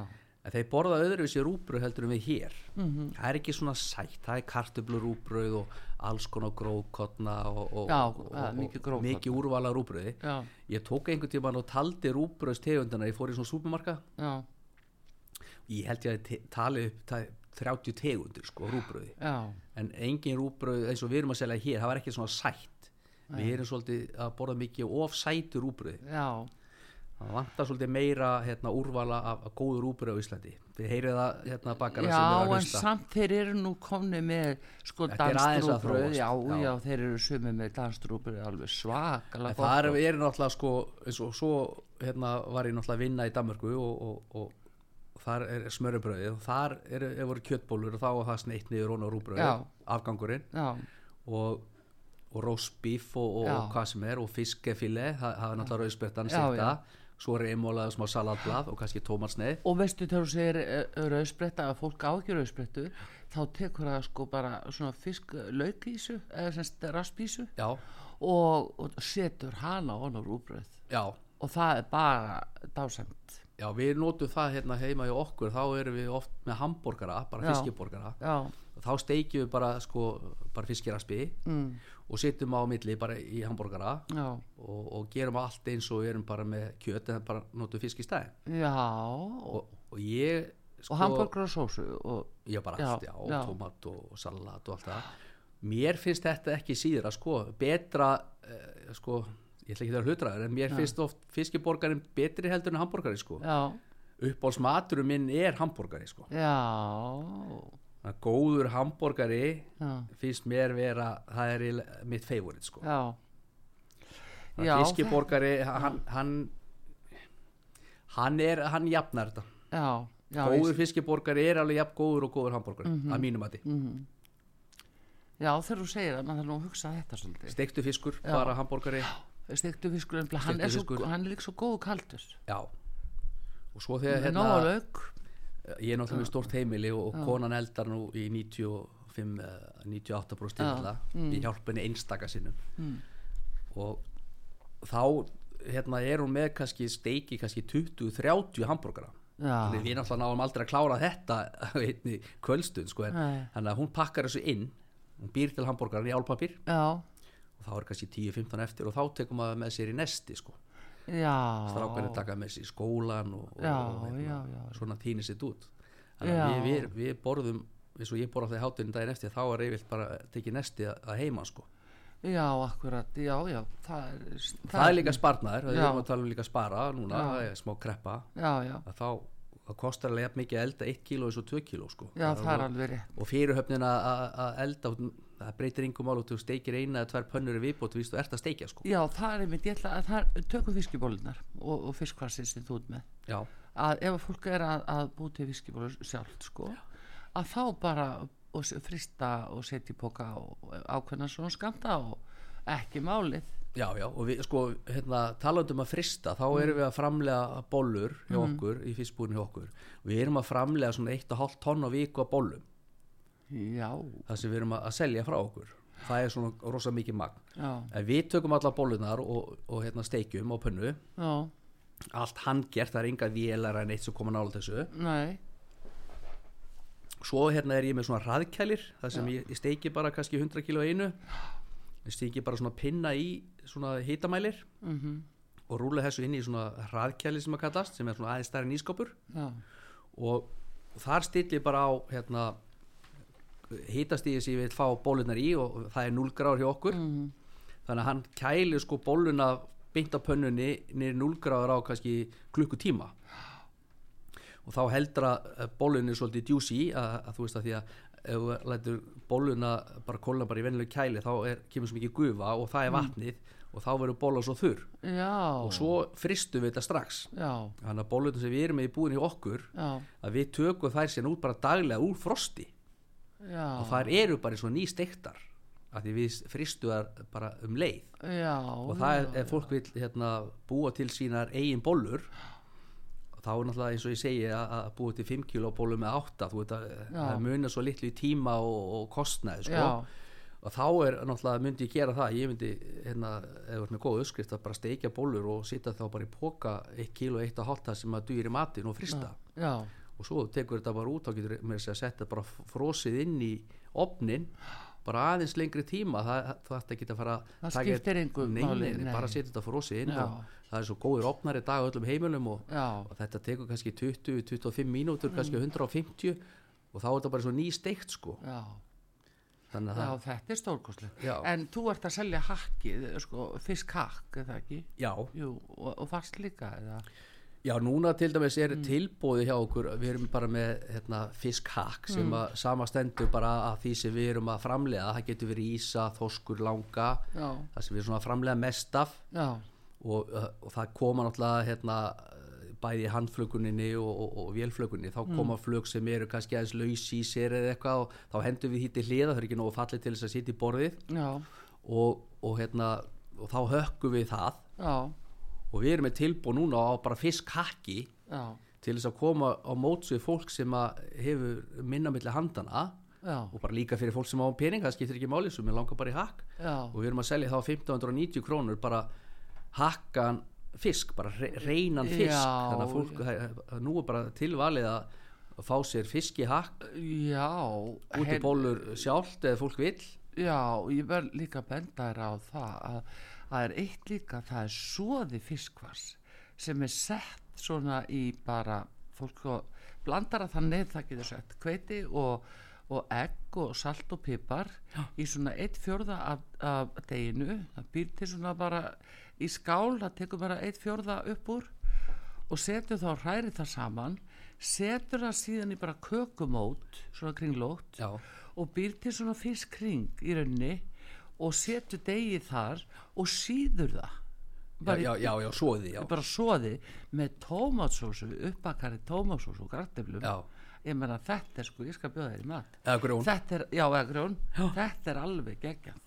Speaker 4: En þeir borða öðruvísi rúbröð heldur en við hér.
Speaker 3: Mhm.
Speaker 4: Það er ekki svona sætt, það er kartöflu rúbröð og alls konar grókotna og, og,
Speaker 3: Já,
Speaker 4: og,
Speaker 3: það er mikið
Speaker 4: og
Speaker 3: grófkorna.
Speaker 4: mikið úrvala rúbröði.
Speaker 3: Já.
Speaker 4: Ég tók einhvern tímann og taldi rúbröðstegundina, ég fór í svona súpermarka,
Speaker 3: já,
Speaker 4: ég held ég að te- talið upp ta- 30 tegundir sko, af rúbröði.
Speaker 3: já
Speaker 4: En engin rúbröð eins og við erum að selja hér, það var ekki svona sætt. Við erum svolítið að borða mikið of sætu rúbröði.
Speaker 3: já,
Speaker 4: Það vantar svolítið meira hérna, úrvala af, af góður rúbröð á Íslandi. Þið heyrið það hérna bakara sem
Speaker 3: Já,
Speaker 4: eru að
Speaker 3: en
Speaker 4: hlusta.
Speaker 3: samt þeir eru nú komni með sko
Speaker 4: Þetta er aðeins að
Speaker 3: danstrúbröð,
Speaker 4: þróast,
Speaker 3: já,
Speaker 4: já.
Speaker 3: já, þeir eru sumi með danstrúbröð alveg svakalega
Speaker 4: En það er,
Speaker 3: gott.
Speaker 4: er náttúrulega sko eins og svo hérna var ég náttúrulega að vinna í Danmörku og, og, og þar er smörubröðið og þar er, er voru kjötbólur og þá var það sneitt niður ón á rúbröðið,
Speaker 3: Já.
Speaker 4: afgangurinn
Speaker 3: Já,
Speaker 4: og, og rósbíf og, og,
Speaker 3: Já.
Speaker 4: og hvað sem er og fiskefile, það, það er náttúrulega rauðspettan
Speaker 3: Já,
Speaker 4: sýta, svo er einmólaðið smá salatblað og kannski tómatsneið
Speaker 3: og veistu þegar þú segir eh, rauðspretta að fólk á ekki rauðsprettu þá tekur það sko bara svona fisk laukísu eða semst raspísu
Speaker 4: Já,
Speaker 3: og, og setur hana on á rúbröð
Speaker 4: já,
Speaker 3: og það er bara dásend
Speaker 4: já, við notum það hérna heima hjá okkur, þá erum við oft með hambúrgara,
Speaker 3: Já.
Speaker 4: bara fiskiborgara
Speaker 3: Já,
Speaker 4: þá steikjum við bara, sko, bara fiskiraspi mm. og setjum á milli bara í hambúrgara
Speaker 3: já,
Speaker 4: og, og gerum allt eins og við erum bara með kjöt en bara notum fisk í stæðin
Speaker 3: já og,
Speaker 4: og, og ég sko,
Speaker 3: og hambúrgur og sósu og,
Speaker 4: ég bara
Speaker 3: Já,
Speaker 4: allt, já,
Speaker 3: já.
Speaker 4: tómat og salat og allt það mér finnst þetta ekki síðra sko, betra eh, sko, ég ætla ekki það að hlutra þér en mér finnst oft fiskiborgarinn betri heldur en hambúrgari sko.
Speaker 3: já,
Speaker 4: uppáhaldsmaturum minn er hambúrgari sko.
Speaker 3: já
Speaker 4: Að góður hambúrgari
Speaker 3: Já.
Speaker 4: finnst mér vera það er eiginlega mitt favorit sko.
Speaker 3: já
Speaker 4: Þannig
Speaker 3: Já,
Speaker 4: að fiskiborgari hann, hann hann er, hann jafnar þetta
Speaker 3: já, já, Mhm.
Speaker 4: góður
Speaker 3: ég-
Speaker 4: fiskiborgari er alveg jafn góður og góður hambúrgari að mínum að því,
Speaker 3: já þegar þú segir það, maður þarf nú að hugsa þetta svolítið
Speaker 4: steiktu fiskur bara hambúrgari,
Speaker 3: stektu fiskur, nefnilega, hann er, svo,
Speaker 4: Steiktur fiskur.
Speaker 3: hann er líka svo góð kaldur
Speaker 4: já og svo þegar
Speaker 3: hérna,
Speaker 4: hérna
Speaker 3: nóg að lauk
Speaker 4: ég er náttúrulega með stórt heimili og, og konan eldar nú í 95 eh, 98 brúst mm. í hjálpunni einstaka sinnum
Speaker 3: Mm.
Speaker 4: og þá hérna er hún með kannski steiki kannski 20-30 hambúrgara
Speaker 3: Já.
Speaker 4: við náttúrulega náum aldrei að klára þetta á einni kvöldstund sko en
Speaker 3: Nei.
Speaker 4: þannig að hún pakkar þessu inn hún býr til hambúrgaran í álpapir
Speaker 3: já,
Speaker 4: og þá er kannski 10-15 eftir og þá tekum maður með sér í nesti sko
Speaker 3: já
Speaker 4: strákarnir taka með sér í skólan og, og,
Speaker 3: Já,
Speaker 4: og hérna,
Speaker 3: já, já, já.
Speaker 4: svona týnir sér út þannig að
Speaker 3: Já.
Speaker 4: við, við, við borðum eins og ég borða þegar hátinn daginn eftir þá er yfirlt bara tekið nesti að, að heima sko.
Speaker 3: já, akkurat, já, já það er, það
Speaker 4: það, er líka sparnaður, við
Speaker 3: Já.
Speaker 4: erum að tala um líka spara núna,
Speaker 3: Já.
Speaker 4: það er smá kreppa
Speaker 3: já, já,
Speaker 4: að þá það kostar alveg jafn mikið að elda 1 kíló eins og 2 kíló sko.
Speaker 3: Já, það er alveg rétt.
Speaker 4: og fyrirhöfnin að- að að elda það breytir yngum mál og þú steikir eina eða tvær pönnur í viðbót víst, þú ert að steikja sko.
Speaker 3: Já, það er einmitt, ég ætla að það tökum fiskibólunar og, og fiskvarsins sem þú ert með.
Speaker 4: já,
Speaker 3: Að ef að fólk er að, að búi til fiskibólur sjálft, sko, að þá bara og s- frysta og setja í póka og eh, ákveðna svona skamta og ekki málið.
Speaker 4: já, já og við sko hérna, talandum að frista þá erum við að framlega bollur hjá okkur í fyrstbúinu hjá okkur og við erum að framlega svona 1,5 tonn á viku að bollum
Speaker 3: Já,
Speaker 4: það sem við erum að, að selja frá okkur það er svona rosa mikið magn
Speaker 3: já,
Speaker 4: en við tökum alla bollunar og, og hérna, steikjum á pönnu
Speaker 3: já,
Speaker 4: allt handgert, það er enga vélar en eitt sem koma nála þessu
Speaker 3: nei,
Speaker 4: svo hérna er ég með svona hraðkælir það sem ég, ég steiki bara kannski 100 kilo í einu ég steiki bara svona pinna í svona hitamælir -hmm. og rúla þessu inn í svona hraðkæli sem að kallast sem er svona aðeins stærri nýskapur
Speaker 3: já,
Speaker 4: og, og þar stilli ég bara á hérna hitastíði sem ég vil fá bólunar í og og það er 0 gráður hjá okkur -hmm. þannig að hann kæli sko bóluna beint á pönnunni niður 0 gráður á kannski klukkutíma og þá heldra bólunni svolítið djúsi að, að þú veist að því að ef þú lætur bóluna bara kólna bara í venilegu kæli þá er, kemur svo mikið gufa og það er vatnið og þá verður bóla svo þurr
Speaker 3: já,
Speaker 4: og svo fristum við þetta strax
Speaker 3: já,
Speaker 4: þannig að bólunum sem við erum með í búinu í okkur
Speaker 3: já,
Speaker 4: að við tökum þær síðan út bara daglega úr frosti
Speaker 3: já,
Speaker 4: og þær eru bara svo nýstektar af því við fristum þær bara um leið
Speaker 3: já,
Speaker 4: og það er, ef fólk vil hérna, búa til sínar eigin bollur þá er náttúrulega eins og ég segi að, að búa til 5 kilo bollu með 8 þú veit að eh, það munar svo litlu í tíma og, og kostnaði sko.
Speaker 3: Já.
Speaker 4: og þá er náttúrulega, myndi ég gera það ég myndi, hérna, eða með góð uppskrift að bara steikja bollur og sitja þá bara í póka 1 kilo, 1 og 8 sem að dýri matinn og frista
Speaker 3: já,
Speaker 4: og svo tekur þetta bara út þá getur mér að setja bara frosið inn í opnin bara aðeins lengri tíma það, það ætti ekki að fara að
Speaker 3: Það
Speaker 4: taka-
Speaker 3: skiptir engu
Speaker 4: nei,
Speaker 3: máli,
Speaker 4: nei, nei,
Speaker 3: nei.
Speaker 4: bara setja þetta frosið inn
Speaker 3: Já.
Speaker 4: og það er svo góður opnar í dag á öllum heimilum og,
Speaker 3: Já.
Speaker 4: og þetta tekur kannski 20-25 mínútur
Speaker 3: Mm.
Speaker 4: kannski 150 og þá er þetta bara svo nýsteikt sko
Speaker 3: já.
Speaker 4: þannig að
Speaker 3: Já,
Speaker 4: það,
Speaker 3: þetta er stórkoslegt.
Speaker 4: Já.
Speaker 3: En þú ert að selja hakkið, sko, fiskhakk, eða ekki?
Speaker 4: já,
Speaker 3: Jú, og, og fast líka, eða?
Speaker 4: já, núna til dæmis er tilbúið hjá okkur, við erum bara með hérna, fiskhakk sem að samastendur bara að því sem við erum að framlega það getur verið ísa, þoskur, langa
Speaker 3: Já,
Speaker 4: það sem við svona framlega mest af
Speaker 3: já,
Speaker 4: og, uh, og það koma náttúrulega hérna, uh, bæði í handflökuninni og, og, og vélflökuninni, þá koma flög sem eru kannski aðeins laus í sér eða eitthvað og þá hendum við hýtti hliða, það er ekki nógu fallið til þess að sitja í borðið
Speaker 3: já,
Speaker 4: og, og, hérna, og þá hökkum við það
Speaker 3: já,
Speaker 4: og við erum með tilbúið núna á bara fiskhakki
Speaker 3: já,
Speaker 4: til þess að koma á mótsuði fólk sem að hefur minna milli handana
Speaker 3: já,
Speaker 4: og bara líka fyrir fólk sem á pening, það skiptir ekki máli sem er langar bara í hakk
Speaker 3: já,
Speaker 4: og við erum að selja þá 1590 krónur bara hakkan fisk, bara re- reynan fisk
Speaker 3: Já.
Speaker 4: þannig að fólk, það- það- nú er bara tilvalið að að fá sér fisk í hakk
Speaker 3: já.
Speaker 4: út í
Speaker 3: heyrðu,
Speaker 4: bólur sjálft eða fólk vill
Speaker 3: Já, ég verð líka að benda þér á það að það er eitt líka, það er svoði fiskvars sem er sett svona í bara fólk og blandar að þannig það getur sett hveiti og, og egg og salt og pipar í svona eitt fjórða af, af deginu, það býr til svona bara í skál, það tekur bara eitt fjórða upp úr og setur þá hræri það saman, setur það síðan í bara kökumót, svona kringlót
Speaker 4: já,
Speaker 3: og býr til svona fiskring í rauninni og setur degið þar og síður það
Speaker 4: já,
Speaker 3: bara,
Speaker 4: já, já, já svoði já.
Speaker 3: bara svoði með tómatsósu uppbakari tómatsósu og garteflum
Speaker 4: Já.
Speaker 3: ég menna þetta er sko, ég skal bjóða þér í mat
Speaker 4: Eða grjón.
Speaker 3: þetta er, já, eða grjón þetta er alveg geggjað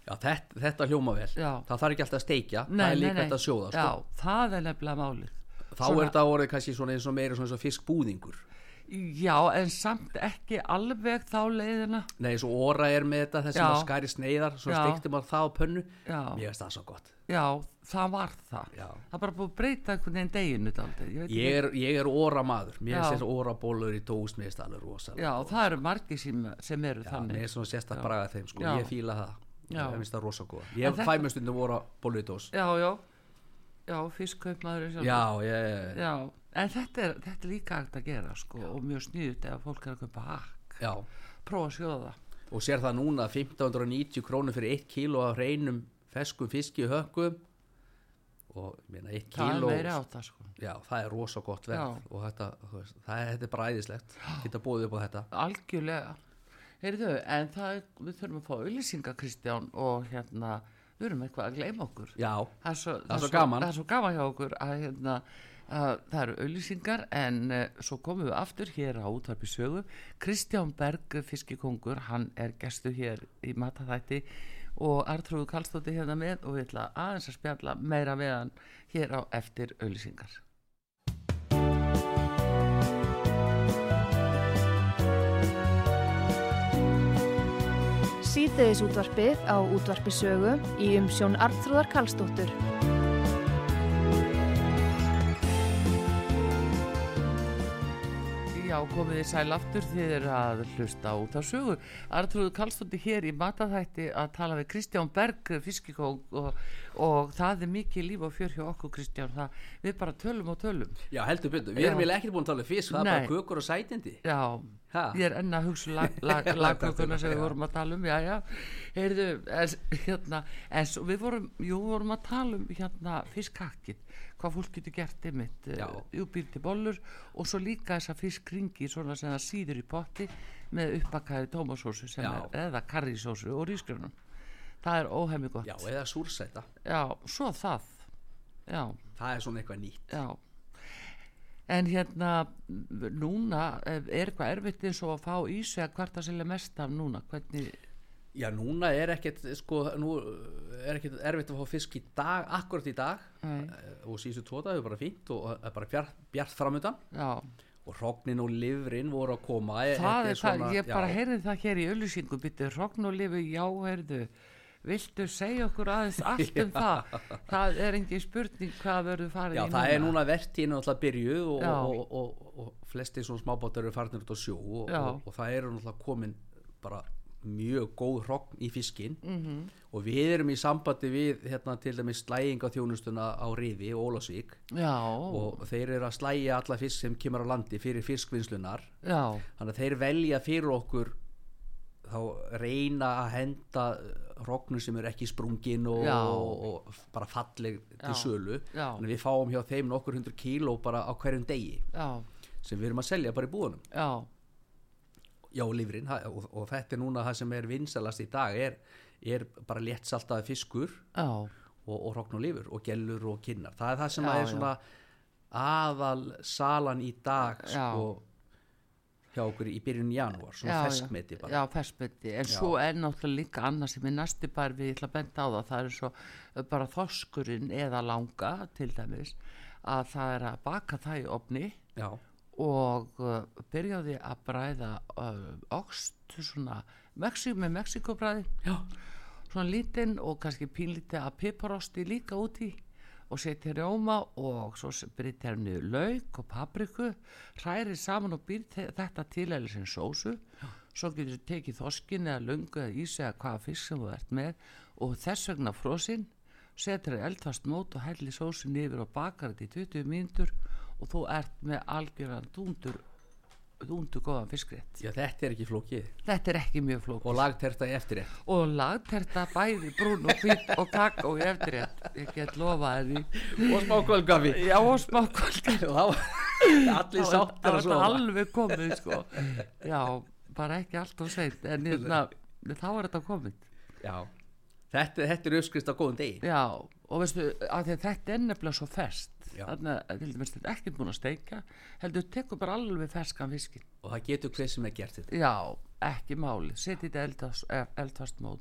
Speaker 4: Já, þetta, þetta hljóma vel
Speaker 3: Já.
Speaker 4: það þarf ekki alltaf að steikja, það er líka þetta að sjóða sko.
Speaker 3: já, það er nefnilega málið
Speaker 4: þá er þetta orðið kannski svona eins og meira svona eins og fiskbúðingur
Speaker 3: já, en samt ekki alveg þá leiðina
Speaker 4: nei, svo óra er með þetta þess
Speaker 3: Já.
Speaker 4: að skæri sneiðar svo
Speaker 3: Já.
Speaker 4: steikti maður það á pönnu
Speaker 3: Já.
Speaker 4: mér finnst það svo gott
Speaker 3: já, það var það
Speaker 4: Já.
Speaker 3: það er bara búið að breyta einhvern veginn deginu daldið, ég veit
Speaker 4: ég er, ég er óra maður, mér
Speaker 3: Já.
Speaker 4: finnst óra bólur í dós, mér finnst það alveg rosalega
Speaker 3: Já, það eru margir sem, sem eru
Speaker 4: Já,
Speaker 3: þannig.
Speaker 4: Mér er svona sérstak braga þeim sko,
Speaker 3: Já.
Speaker 4: ég fíla það
Speaker 3: Já.
Speaker 4: Mér finnst það rosa góða Ég
Speaker 3: þetta-
Speaker 4: fæ mér stundum voru að bólu í dós
Speaker 3: Já, já, já, fiskkaupmaður
Speaker 4: Já, ég,
Speaker 3: já. En þetta er, þetta er líka hægt að gera sko og mjög sniðut ef fólk er að kaupa hakk.
Speaker 4: já
Speaker 3: Prófa að sjóða það.
Speaker 4: Og sér það núna 1590 krónur fyrir 1 kíló af reynum feskum fiski í hökkum og ég meina,
Speaker 3: það er
Speaker 4: eitt kíló
Speaker 3: meiri á það sko
Speaker 4: já, það er rosa gott verð
Speaker 3: Já.
Speaker 4: og þetta, þú veist, það, er- þetta er bræðislegt geta búið upp á þetta
Speaker 3: algjörlega Heyrðu, en það, við þurfum að fá auðlýsinga Kristján og hérna við erum eitthvað að gleyma okkur
Speaker 4: já,
Speaker 3: það er svo,
Speaker 4: Það er svo gaman.
Speaker 3: það er svo gaman hjá okkur að, hérna, að það eru auðlýsingar en uh, svo komum við aftur hér á útvarpi sögu Kristján Berg fiskikongur, hann er gestu hér í mataþætti og Artrúðu Kallstóti hérna með og við ætla aðeins að spjalla meira við hann hér á eftir auðlýsingar
Speaker 5: Síðdeðis útvarpið á útvarpi sögu í umsjón Arnþrúðar Karlsdóttur.
Speaker 3: Já, komið þið sæl aftur þið er að hlusta út af sögu Artrúðu Kallstótti hér í mataþætti að tala við Kristján Berg fiskikók og, og það er mikið líf og fjör hjá okkur Kristján það, við bara tölum og tölum
Speaker 4: já, heldur betur, við
Speaker 3: Já.
Speaker 4: erum eiginlega ekkert búin að tala um fisk það er
Speaker 3: Nei.
Speaker 4: bara kökur og sætindi
Speaker 3: Já,
Speaker 4: Ha?
Speaker 3: ég er enn að hugsa um lag, lag,
Speaker 4: Já,
Speaker 3: lagkökuna sem við
Speaker 4: já.
Speaker 3: vorum að tala um já, já, heyrðu en, hérna, en svo við vorum, jú, vorum að tala um hérna fiskakkin hvað fólk getur gert einmitt
Speaker 4: Já.
Speaker 3: uppbýr til bollur og svo líka þessa fiskringi svona sem það síður í potti með uppakkaði tómasósu sem
Speaker 4: Já.
Speaker 3: er eða karrísósu og rísgrunum það er óhemmi gott
Speaker 4: já, eða súrsæta,
Speaker 3: Já, svo það já,
Speaker 4: það er svona eitthvað nýtt
Speaker 3: já en hérna m- núna eh, er eitthvað erfitt eins og að fá í sig að hvart að selja mest af núna hvernig,
Speaker 4: já, núna er ekkert, sko, nú er ekkert erfitt að fá fisk í dag akkurat í dag
Speaker 3: Nei.
Speaker 4: Eh, og síðustu tóta hefur bara fínt og það er bara bjart, bjart framöndan
Speaker 3: já
Speaker 4: og hrognin og livrin voru að koma Eh,
Speaker 3: það
Speaker 4: þetta
Speaker 3: er það, ég bara
Speaker 4: já.
Speaker 3: heyrði það hér í öllusingu byttið Rognulifu, já heyrðu viltu segja okkur aðeins allt um það það er engin spurning hvað verður farið
Speaker 4: Já,
Speaker 3: í
Speaker 4: það er núna vertíðinu alltaf byrjuð og,
Speaker 3: Já.
Speaker 4: og, og, og, og flesti svona smábátar eru farnir út á sjó og,
Speaker 3: Já.
Speaker 4: og, og það eru alltaf komin bara mjög góð hrogn í fiskin
Speaker 3: Mhm.
Speaker 4: -hmm. og við erum í sambandi við hérna til dæmis slæginga þjónustuna á Rifi og Ólasvík
Speaker 3: já,
Speaker 4: og þeir eru að slæja alla fisk sem kemur á landi fyrir fiskvinnslunar
Speaker 3: já,
Speaker 4: þannig að þeir velja fyrir okkur þá reyna að henda rognum sem eru ekki sprungin og,
Speaker 3: Já.
Speaker 4: og, og bara falleg til
Speaker 3: Já.
Speaker 4: sölu
Speaker 3: Já.
Speaker 4: þannig að við fáum hjá þeim nokkur hundru kíló bara á hverjum degi
Speaker 3: já,
Speaker 4: sem við erum að selja bara í búðunum
Speaker 3: já
Speaker 4: já, lifrin, ha- og, og þetta er núna það sem er vinsalast í dag er, er bara létt saltaði fiskur
Speaker 3: já,
Speaker 4: og, og rogn og lifur og gellur og kinnar það er það sem
Speaker 3: Já,
Speaker 4: er svona aðal salan í dag
Speaker 3: Já.
Speaker 4: sko, hjá okkur í byrjun janúar svona
Speaker 3: já,
Speaker 4: feskmeti bara
Speaker 3: já, ferskmeti en svo er náttúrulega líka annað sem er næsti bara við ég ætla að benda á það, það er svo eh, bara þoskurinn eða langa til dæmis, að það er að baka það í ofni
Speaker 4: Já.
Speaker 3: og uh, byrjaði að bræða uh, oxt svona Mexi, með Mexikobræði
Speaker 4: Já.
Speaker 3: svona lítinn og kannski pínlítið að piparosti líka úti og setja rjóma og svo brytja henni lauk og papriku hræri saman og býr þe- þetta til eða sem sósu svo getur þú tekið þoskin eða lungu eða ísi eða hvaða fisk sem þú ert með og þess vegna frosinn setur það eldfast mót og hellir sósin yfir og bakar þetta í 20 mínútur og þú ert með algjöran dúndur dúndur góðan fiskrétt
Speaker 4: Já, þetta er ekki flókið
Speaker 3: þetta er ekki mjög flók
Speaker 4: og lagterta í eftir rétt
Speaker 3: og lagterta bæði brún og hvít og kakó í eftirrétt ég get lofa þér því
Speaker 4: og smákvölgafi
Speaker 3: já og smákvöld
Speaker 4: allir
Speaker 3: það var-
Speaker 4: sáttir
Speaker 3: það var
Speaker 4: að
Speaker 3: þetta
Speaker 4: sofa
Speaker 3: alveg komið sko. já, bara ekki allt og seint en hérna, þá var þetta komið
Speaker 4: Já. þetta, þetta er uppskrist á góðum degi
Speaker 3: já, og veistu að því að þetta er nefnilega svo fest
Speaker 4: Já.
Speaker 3: þannig að til dæmis þetta er ekkert búin að steika heldur tekur bara alveg ferskan fiskin
Speaker 4: og það getur hver sem er gert þetta
Speaker 3: Já, ekki máli, setjið þetta eldfast, eldfast mót,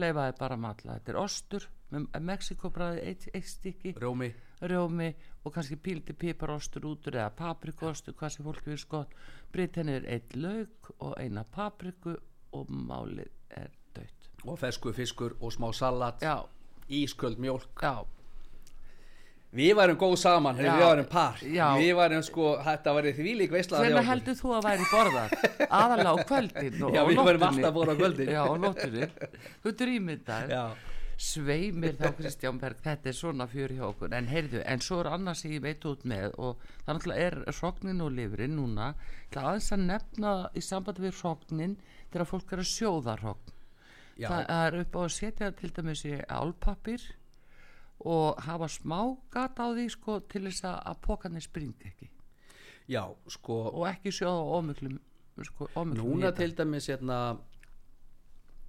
Speaker 3: leifaði bara matla, þetta er ostur með Mexikobræði, eitt, eitt stykki,
Speaker 4: Rjómi,
Speaker 3: rjómi og kannski píldi piparostur út úr eða paprikostur, hvað sem fólk vil skott, breyta henni er eitt lauk og eina papriku og málið er dött.
Speaker 4: og fesku fiskur og smá salat
Speaker 3: Já,
Speaker 4: ísköld mjólk
Speaker 3: já,
Speaker 4: við værum góð saman,
Speaker 3: Já.
Speaker 4: við værum par
Speaker 3: Já.
Speaker 4: við værum sko, þetta væri því lík veisla
Speaker 3: hvernig heldur þú að væri borðar? Aðalega á kvöldin og á
Speaker 4: Já, við
Speaker 3: nóttunni.
Speaker 4: værum alltaf borða á kvöldin.
Speaker 3: Já, á nóttunni. Þú drýmyndar.
Speaker 4: Já.
Speaker 3: sveimir þá Kristján Berg þetta er svona fjör hjá okkur en heyrðu, en svo er annað sem ég veit út með og það náttúrulega er hrognin og lifrin núna, það aðeins að nefna í sambandi við hrognin þegar fólk er að sjóða hrogn
Speaker 4: Já.
Speaker 3: það er upp á að setja til dæmis í álpapir og hafa smá gata á því sko til þess að, að pókarnir springi ekki
Speaker 4: já, sko
Speaker 3: og ekki sjóða ómiklum sko, ómiklum
Speaker 4: núna
Speaker 3: hita.
Speaker 4: til dæmis hérna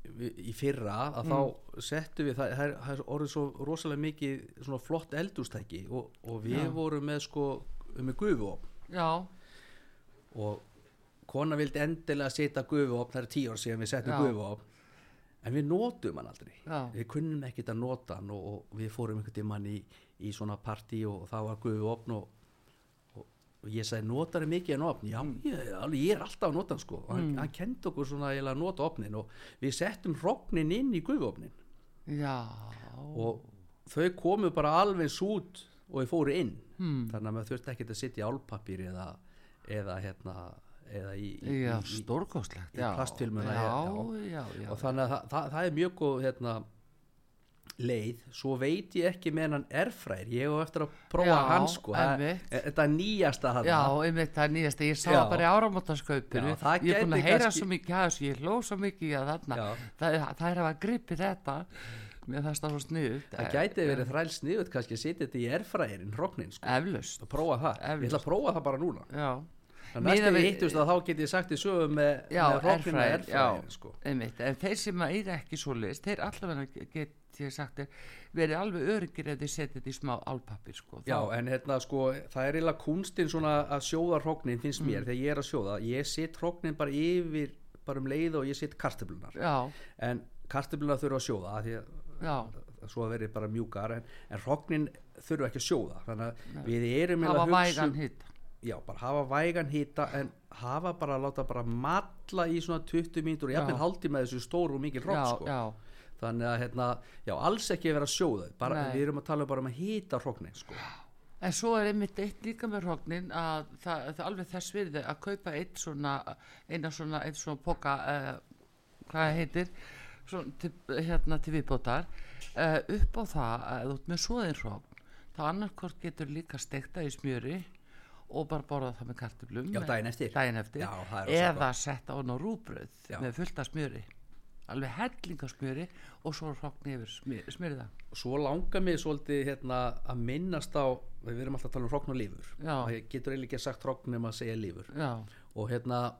Speaker 4: við- í fyrra að þá settum við það, það er- það er orðið svo rosalega mikið svona flott eldústæki og, og við vorum með sko með gufuopn
Speaker 3: já,
Speaker 4: og kona vildi endilega setja gufuopn, það er tíu ár síðan við settum
Speaker 3: Já.
Speaker 4: gufuopn en við nótum hann aldrei
Speaker 3: Já.
Speaker 4: við kunnum ekkert að nota hann og, og við fórum einhvern tímann í, í svona partí og það var gufuopn og, og, og ég sagði notar hann mikið en opn já,
Speaker 3: Mm.
Speaker 4: ég, alveg, ég er alltaf að nota hann sko og hann, hann kendi okkur svona eiginlega að nota opnin og við settum hrognin inn í gufuopnin
Speaker 3: já
Speaker 4: og þau komu bara alveg eins út og þau fóru inn hmm. þannig að maður þurfti ekkert að sitja í álpapír eða, eða hérna eða í, í,
Speaker 3: já,
Speaker 4: í, í,
Speaker 3: stórkostlegt
Speaker 4: í
Speaker 3: já.
Speaker 4: plastfilmuna
Speaker 3: já,
Speaker 4: já.
Speaker 3: já, já,
Speaker 4: og þannig að það, það, það er mjög góð hérna, leið, svo veit ég ekki með hann erfræðir, ég hef eftir að prófa
Speaker 3: Já,
Speaker 4: hann sko, það-
Speaker 3: einmitt.
Speaker 4: e- þetta nýjasta hann
Speaker 3: Já, einmitt, það er nýjasta, ég sá
Speaker 4: Já.
Speaker 3: það bara í áramótaskaupinu
Speaker 4: Já, það
Speaker 3: Ég er búin að
Speaker 4: gæti
Speaker 3: heyra
Speaker 4: kannski-
Speaker 3: svo mikið að þessu, ég hló svo mikið að þarna
Speaker 4: Já.
Speaker 3: það, það er að hafa gripið þetta Mér fannst það svo sniðugt eh,
Speaker 4: það gæti verið þræl sniðut kannski að setja þetta í erfræðirinn hrognin sko,
Speaker 3: Eflaust
Speaker 4: að prófa það, ég ætla að prófa það bara núna
Speaker 3: Já,
Speaker 4: Þannig að
Speaker 3: Miðað
Speaker 4: næstu
Speaker 3: við-
Speaker 4: hittumst að þá get ég sagt í sögu með,
Speaker 3: já,
Speaker 4: með rockinu
Speaker 3: erfræðir Já,
Speaker 4: erfræðin sko.
Speaker 3: einmitt, en þeir sem að er ekki svo list Þeir allavega get ég sagt þér Verið alveg öryggir ef þeir setja þetta í smá álpappir sko.
Speaker 4: Já,
Speaker 3: Þá-
Speaker 4: en hérna sko, það er eiginlega kunstinn svona að sjóða hrognin finnst
Speaker 3: Mm.
Speaker 4: mér þegar ég er að sjóða, ég set hrognin bara yfir, bara um leið og ég set kartöflunar
Speaker 3: já,
Speaker 4: en kartöflunar þurfa að sjóða af því að
Speaker 3: já,
Speaker 4: svo að veri bara mjúkar en, en hrognin þurfa ekki að sjóða þannig að við erum
Speaker 3: hafa
Speaker 4: eiginlega að
Speaker 3: vægan
Speaker 4: hugsa- um
Speaker 3: hitt
Speaker 4: Já, bara hafa vægan hita en hafa bara að láta bara matla í svona 20 mínútur og
Speaker 3: Já.
Speaker 4: jafnvel haldi með þessu stóru og mikil hrogn
Speaker 3: Já,
Speaker 4: sko.
Speaker 3: já,
Speaker 4: þannig að hérna, já, alls ekki að vera sjóðu bara,
Speaker 3: Nei.
Speaker 4: við erum að tala bara um að hýta hróknin sko.
Speaker 3: En svo er einmitt eitt líka með hrognin að það, það er alveg þess virði að kaupa eitt svona, eina svona, eitt svona poka, uh, hvað það heitir, svona til, hérna til viðbótar, uh, upp á það að þú ert með svoðin hrogn, þá annarkort getur líka stekta í smjöri og bara borða það með kartöflum.
Speaker 4: Já, daginn eftir.
Speaker 3: Daginn eftir.
Speaker 4: Já, það er rosa
Speaker 3: Eða
Speaker 4: gott.
Speaker 3: setta á ná rúbröð
Speaker 4: Já.
Speaker 3: með fullt af smjöri, alveg helling af smjöri og svo hrogn yfir smjör, smjöriða.
Speaker 4: svo langar mig svolítið hérna, að minnast á, við erum alltaf að tala um hrókn og lífur
Speaker 3: Já.
Speaker 4: og ég getur eiginlega ekki sagt hrókn nema að segja lífur
Speaker 3: Já,
Speaker 4: og hérna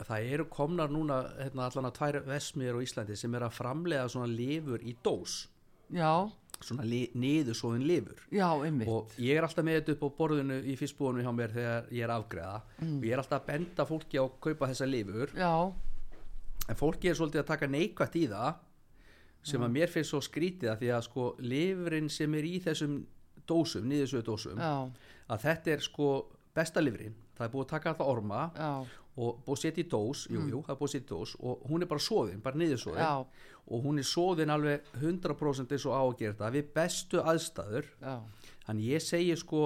Speaker 4: það eru komnar núna hérna, allan að tvær vesmiður á Íslandi sem er að framlega svona lífur í dós
Speaker 3: já,
Speaker 4: svona li, niður svoðin lífur
Speaker 3: já, einmitt.
Speaker 4: og ég er alltaf með þetta upp á borðinu í fyrstbúinu hjá mér þegar ég er að afgreða
Speaker 3: Mm.
Speaker 4: og ég er alltaf að benda fólki á að kaupa þessa lífur
Speaker 3: Já,
Speaker 4: en fólki er svolítið að taka neikvætt í það sem að mér finnst svo skrítið að því að sko lifrin sem er í þessum dósum, niðursöðu dósum
Speaker 3: já,
Speaker 4: að þetta er sko besta lifrin það er búið að taka alltaf orma
Speaker 3: já, Mm.
Speaker 4: og búið að setja í dós, jú, jú, það er búið að setja í dós og hún er bara soðin, bara niðursóðin
Speaker 3: Já.
Speaker 4: og hún er soðin alveg 100% eins og á að gera þetta við bestu aðstæður
Speaker 3: já,
Speaker 4: þannig ég segi sko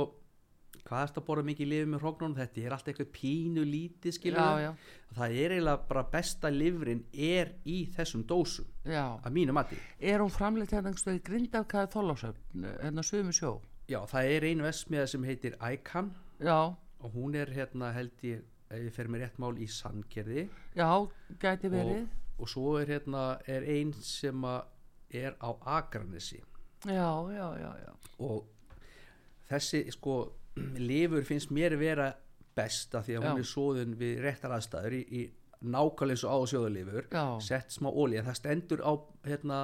Speaker 4: hvað er þetta að borða mikið lifið með hróknunum þetta er alltaf eitthvað pínu lítið skilur
Speaker 3: Já, já.
Speaker 4: það er eiginlega bara besta lifrin er í þessum dósum
Speaker 3: já.
Speaker 4: að mínu mati
Speaker 3: Er hún framleitt hérna einhverstu í Grindafkaði Þorlásöfn, hérna sömu sjó?
Speaker 4: já það er ein vesmiða sem heitir Icon
Speaker 3: Já,
Speaker 4: og hún er hérna held ég ef ég fer mér rétt mál í sandkerði
Speaker 3: já, gæti verið.
Speaker 4: og, og svo er hérna er ein sem að er á Akranesi
Speaker 3: Já, já, já, já.
Speaker 4: og þessi sko lifur finnst mér vera best af því að
Speaker 3: Já.
Speaker 4: hún er svoðun við réttar aðstæður í, í nákvæmlega eins og á að sjóða lifur
Speaker 3: Já.
Speaker 4: sett smá olí en það stendur á hérna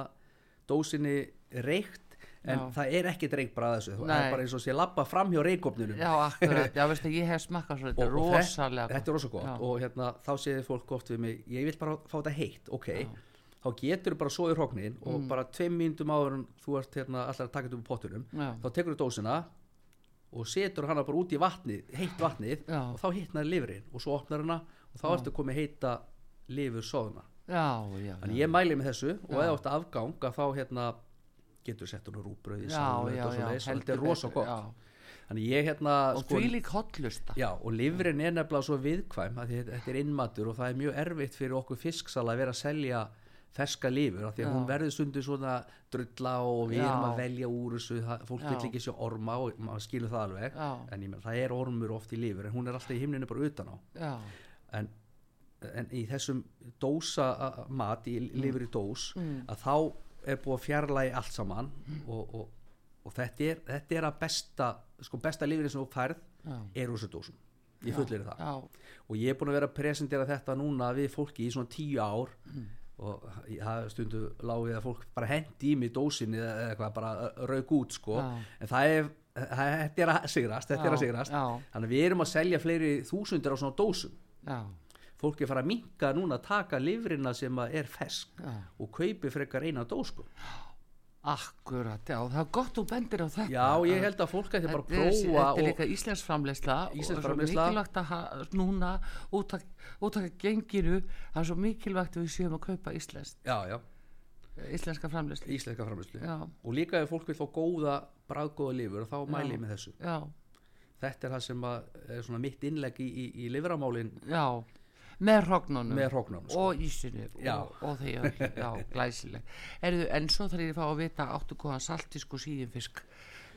Speaker 4: dósinni reykt en
Speaker 3: Já.
Speaker 4: það er ekkert reykt bara að þessu það
Speaker 3: Nei.
Speaker 4: er bara eins og sé labba fram hjá reykopnunum
Speaker 3: Já, akkurat, já, veistu, ég hef smakkað svo þetta,
Speaker 4: þe-
Speaker 3: rosalega.
Speaker 4: þetta er rosa gott
Speaker 3: Já.
Speaker 4: og hérna, þá segir fólk oft við mig ég vil bara fá þetta heitt, ok þá getur bara soðið hróknin og
Speaker 3: Mm.
Speaker 4: bara tveim mínútum áður en þú ert hérna, allar að taka þetta upp úr pottunum
Speaker 3: Já.
Speaker 4: þá tekur þú dósina og setur hana bara út í vatnið, heitt vatnið
Speaker 3: Já.
Speaker 4: og þá hittnar lifurinn og svo opnar hana og þá ertu komið heita lifur soðuna
Speaker 3: Já, já, já.
Speaker 4: þannig ég mæli með þessu og eða áttu afgang að þá hérna getur sett hún rúbröði
Speaker 3: Já, já, já,
Speaker 4: og þetta
Speaker 3: heldur
Speaker 4: er rosa
Speaker 3: betur,
Speaker 4: gott
Speaker 3: já.
Speaker 4: þannig ég hérna
Speaker 3: Og
Speaker 4: sko-
Speaker 3: því lík hotlusta.
Speaker 4: Já, og lifrin er nefnilega svo viðkvæm að þetta er innmatur og það er mjög erfitt fyrir okkur fisksala að vera að selja ferska lifur, af því að
Speaker 3: Já.
Speaker 4: hún verður stundu svona drulla og við
Speaker 3: Já.
Speaker 4: erum að velja úr þessu, það, fólk
Speaker 3: Já.
Speaker 4: vil ekki sjá orma og maður skilur það alveg,
Speaker 3: Já.
Speaker 4: en ég menn það er ormur oft í lifur, en hún er alltaf í himninu bara utan á,
Speaker 3: Já,
Speaker 4: en, en í þessum dósa a- a-
Speaker 3: Mm. Mm.
Speaker 4: mat, í lifur í dós, að þá er búið að fjarlægi allt saman og, og, og þetta er, þetta er að besta sko besta lifrið sem þú færð
Speaker 3: Já.
Speaker 4: er úr þessu dósum, ég fullir það
Speaker 3: já,
Speaker 4: og ég er búin að vera að presentera þetta núna við fólki í svona tíu ár
Speaker 3: Mm.
Speaker 4: og það stundu láfið að fólk bara hendi í mig dósinni eða eða eitthvað bara rauk út sko
Speaker 3: Já.
Speaker 4: en það er, það, þetta er að sigrast þetta er að
Speaker 3: Já,
Speaker 4: sigrast
Speaker 3: já.
Speaker 4: þannig að við erum að selja fleiri þúsundir á svona dósum
Speaker 3: já,
Speaker 4: fólk er fara að minka núna að taka lifrina sem að er fersk
Speaker 3: Já.
Speaker 4: og kaupi frekar eina dós sko
Speaker 3: akkurat, já, það er gott þú bendir á þetta.
Speaker 4: já ég held að fólk ætti bara að
Speaker 3: Þetta er-
Speaker 4: prófa
Speaker 3: Þetta er
Speaker 4: og,
Speaker 3: líka íslensk framleysla
Speaker 4: Íslensk
Speaker 3: Og
Speaker 4: framleiðsla.
Speaker 3: svo mikilvægt að ha- núna út að, út að genginu Það er svo mikilvægt að við séum að kaupa íslensk,
Speaker 4: já, já,
Speaker 3: íslenska framleysla
Speaker 4: íslenska framherslu
Speaker 3: Já.
Speaker 4: og líka ef fólk vil fá góða bræðgóða lifur þá mæli ég með þessu
Speaker 3: Já,
Speaker 4: þetta er það sem að, er svona mitt innlegg í, í, í lifuramálin
Speaker 3: já Með hrognunum
Speaker 4: Með hrognunum, sko.
Speaker 3: Og ísinu
Speaker 4: Já.
Speaker 3: Og, og þegar, já, glæsileg Erðu, En svo þarf ég að fá að vita áttu góðan saltisk og síðinfisk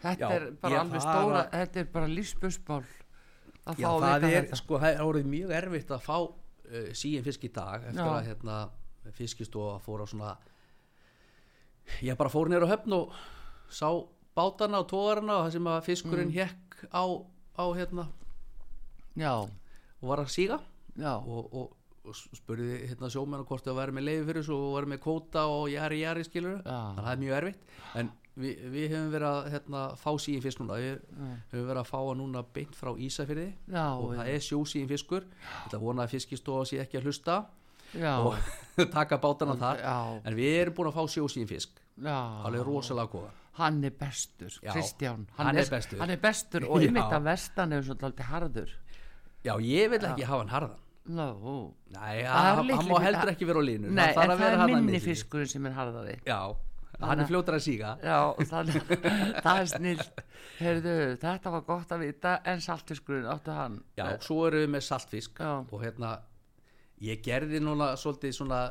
Speaker 3: Þetta
Speaker 4: Já,
Speaker 3: er bara
Speaker 4: ég
Speaker 3: alveg
Speaker 4: fara-
Speaker 3: stóra Þetta er bara lífsbjörnsmál Að
Speaker 4: já,
Speaker 3: fá að
Speaker 4: það,
Speaker 3: vita
Speaker 4: er,
Speaker 3: þetta
Speaker 4: sko, það er orðið mjög erfitt að fá uh, síin fisk í dag eftir
Speaker 3: Já.
Speaker 4: að hérna, fiskistofa fór á svona ég bara fór nýra á höfn og sá bátana og tóðarana og það sem að fiskurinn
Speaker 3: Mm.
Speaker 4: hekk á, á hérna
Speaker 3: Já,
Speaker 4: og var að síga
Speaker 3: já,
Speaker 4: og, og, og spurði hérna sjómenn hvort það væri með leiði fyrir þessu og væri með kvóta og jari jari skilur
Speaker 3: Já.
Speaker 4: þannig að það er mjög erfitt en við, við hefum verið að hérna, fá síðan fisk núna við höfum verið að fá að núna beint frá Ísafyrði
Speaker 3: Já,
Speaker 4: og
Speaker 3: já.
Speaker 4: það er sjósíðin fiskur þetta vona að fiskistofa sé ekki að hlusta
Speaker 3: já,
Speaker 4: og taka bátana þar
Speaker 3: Já.
Speaker 4: en við erum búin að fá sjósíðin fisk
Speaker 3: já
Speaker 4: alveg rosalega góða
Speaker 3: hann er bestur,
Speaker 4: Já,
Speaker 3: Kristján
Speaker 4: hann er bestur.
Speaker 3: hann er bestur og
Speaker 4: Já.
Speaker 3: einmitt að vestan er svolítið dálítið harður
Speaker 4: já ég vil ekki hafa hann harðan
Speaker 3: no. Það
Speaker 4: Nei,
Speaker 3: er
Speaker 4: hann, hann
Speaker 3: litli-
Speaker 4: má heldur ekki vera á línu
Speaker 3: Nei,
Speaker 4: þarf
Speaker 3: en
Speaker 4: að
Speaker 3: það
Speaker 4: vera
Speaker 3: er
Speaker 4: þarna á
Speaker 3: minni
Speaker 4: milli.
Speaker 3: fiskurinn sem er harðari
Speaker 4: Já, hann er fljótar að síga
Speaker 3: já, þannig það er snillt Heyrðu, þetta var gott að vita en saltiskurinn áttu hann
Speaker 4: Já, svo eru við með saltfisk
Speaker 3: Já.
Speaker 4: og hérna, ég gerði núna svolítið svona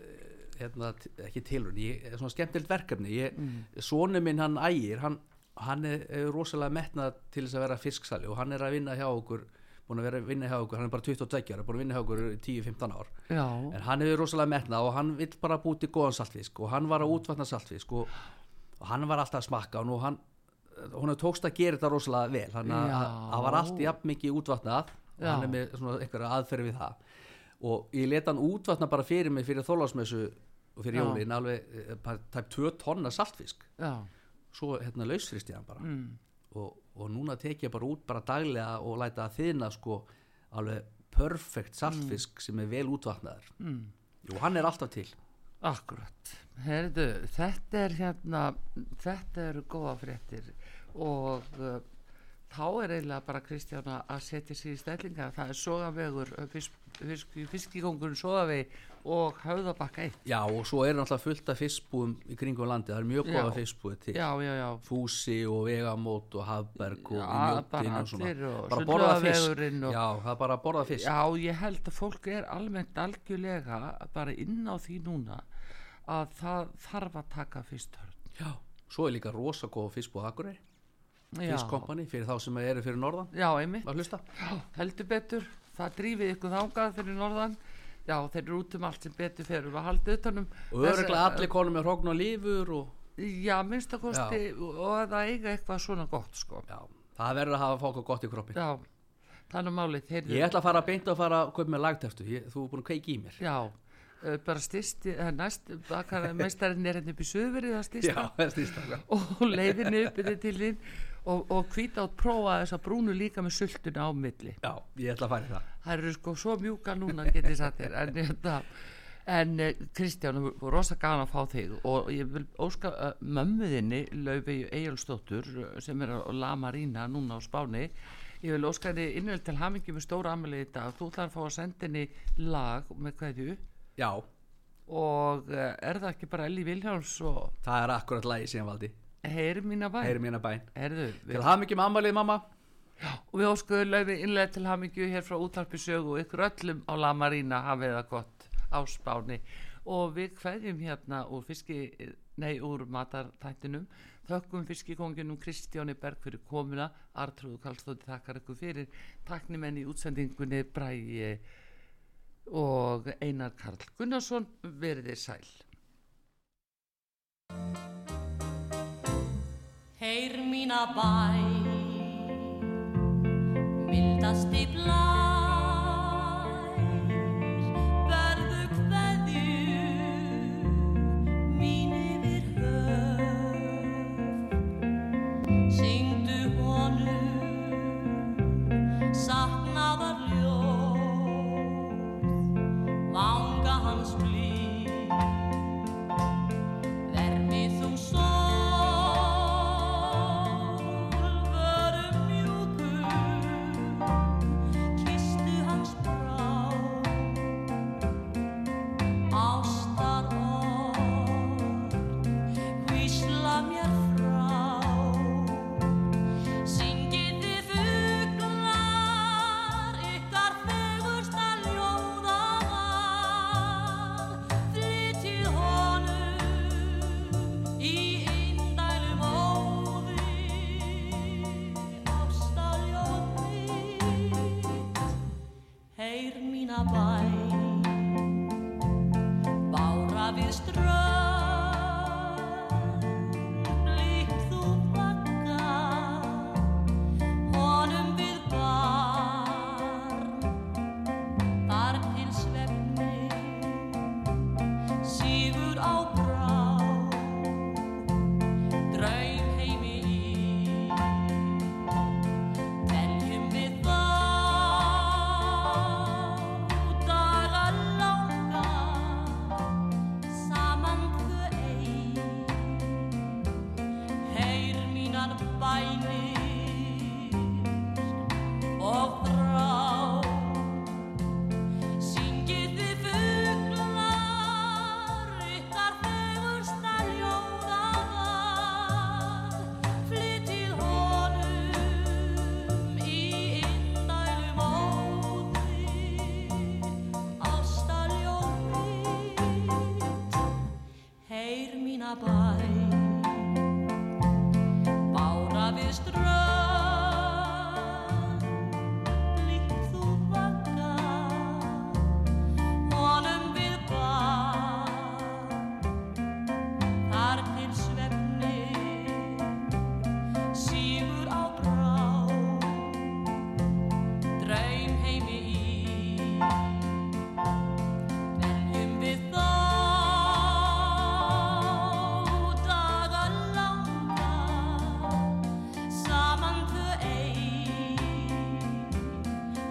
Speaker 4: eh, hérna, t- ekki tilrun, ég er svona skemmtilt verkefni, ég, mm. sonu minn hann ægir, hann, hann er, er rosalega metnað til þess að vera fisksali og hann er að vinna hjá okkur, búin að vera að vinna hjá okkur, hann er bara 22 ára, búin að vinna hjá okkur í 10-15 ár
Speaker 3: já,
Speaker 4: en hann hefur rosalega metnað og hann vill bara búið til góðan saltfisk og hann var að útvatna saltfisk og, og hann var alltaf að smakka hann og hann, hún hefur tókst að gera þetta rosalega vel þannig að-
Speaker 3: Já.
Speaker 4: að það var allt jafn mikið útvatnað og
Speaker 3: Já.
Speaker 4: hann er með svona einhverja aðferð við það og ég let hann útvatna bara fyrir mig fyrir þólasmessu og fyrir
Speaker 3: Já.
Speaker 4: jólin alveg eh, bara tæp 2 tonna saltfisk
Speaker 3: já,
Speaker 4: svo hérna lausfrist ég hann bara og, og núna tek ég bara út bara daglega og læta að þýðna sko alveg perfekt saltfisk sem er vel útvatnaður mm. og hann er alltaf til
Speaker 3: akkurat Heyrðu, þetta er hérna þetta eru góða fréttir og uh, þá er eiginlega bara Kristján að- að setja sér í stellinga það er sogavegur eh, fisk, fisk, fiskigóngurinn sogavegi og höfðabakka 1
Speaker 4: já og svo er náttúrulega fullt af fiskbúum í kringum landið, það er mjög
Speaker 3: Já.
Speaker 4: góða fiskbúi til
Speaker 3: já, já, já
Speaker 4: Fúsi og Vegamót og Hafberg og
Speaker 3: Já,
Speaker 4: Mjóttinn
Speaker 3: bara
Speaker 4: og svona
Speaker 3: allir og
Speaker 4: bara borða fisk
Speaker 3: Sundlaugavegurinn og-
Speaker 4: já það er bara að borða fisk
Speaker 3: Já, ég held að fólk er almennt algjörlega bara inn á því núna að það þarf að taka fyrst hörn.
Speaker 4: Já. svo er líka rosa góða fiskbúi Akurey fiskkompani fyrir þá sem eru fyrir norðan
Speaker 3: Já, einmitt.
Speaker 4: að hlusta
Speaker 3: Já, heldur betur. Það drífið ykkur þangað fyrir norðan. Já, þeir eru út um allt sem betur fyrir að halda um utanum.
Speaker 4: og öruglega allir konum með hrogn og lífur og
Speaker 3: Já, minnst að kosti og að það eiga eitthvað svona gott, sko.
Speaker 4: já, það verður að hafa fólk og gott í kroppin
Speaker 3: Já, þannig málið. Þeir
Speaker 4: Ég ætla að fara beint og fara að kaupa með lagtertu ég, Þú er búin að kveiki í mér
Speaker 3: Já, eh, bara styrst, næst, bakar, mestarinn er hérna upp í söðverið að styrsta.
Speaker 4: það snýst það
Speaker 3: og leiðinu upp yfir til þín og, og hvita át prófa þess að brúnu líka með sultuna á milli
Speaker 4: Já, ég ætla að fara í það
Speaker 3: það eru sko svo mjúka núna getið satt þér en, þetta, en eh, Kristján, það voru rosa gana að fá þig og ég vil óska uh, mömmuðinni Laufey Egilsdóttur eh, sem er á La Marina núna á Spáni ég vil óska henni innvel til hamingi með stóra amalegi í dag þú ætlar að fá að senda henni lag með hverju
Speaker 4: Já,
Speaker 3: og eh, er það ekki bara Elli Vilhjáls og
Speaker 4: það er akkurat lagi síðan valdi
Speaker 3: heyri mína bæn
Speaker 4: Heyri mína bæn
Speaker 3: Heyrðu, við-
Speaker 4: Til hafa mikið með ammalið mamma
Speaker 3: og við óskuðum laufi innlega til hamingju hér frá útvarpi sögu og ykkur öllum á La Marina hafið það gott á Spáni og við kveðjum hérna úr fiski, nei úr matartættinum þökkum fiskikonginum Kristjáni Berg fyrir komuna Artrúðu Karlsdóttir þakkar ykkur fyrir taknimenn í útsendingunni Bræi og Einar Karl Gunnarsson verið þið sæl
Speaker 1: Hey fína bæ Mildasti blær Verðu kveðjur Mín yfir höf Syngdu honum Saknaðar ljóð Vanga hans blíð Vermið þú sól, vörum mjúkur, kistu hans brá, ástar orð, hvísla mér frá. Syngiði fuglar ykkar fegursta ljóðaval Flytjið honum í indælum óði Ástaljóð mitt, heyr mína bæn Bára við strönd, líkt þú bakka honum við barn þar til svefni sígur á brá draum heimi í veljum við þá daga langa saman þau ein heyr mínar bænir og þrá syngið þið fuglar ykkar fegursta ljóðaval flytjið honum í indælum óði ástaljóð mitt heyr mína bæn Bára við strönd, líkt þú vagga, honum við barn. Þar til svefni sígur á brá, draum heimi í. Veljum við þá daga langa, saman þau ein,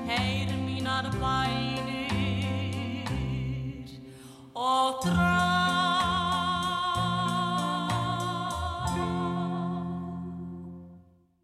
Speaker 1: heyr mínar bæn.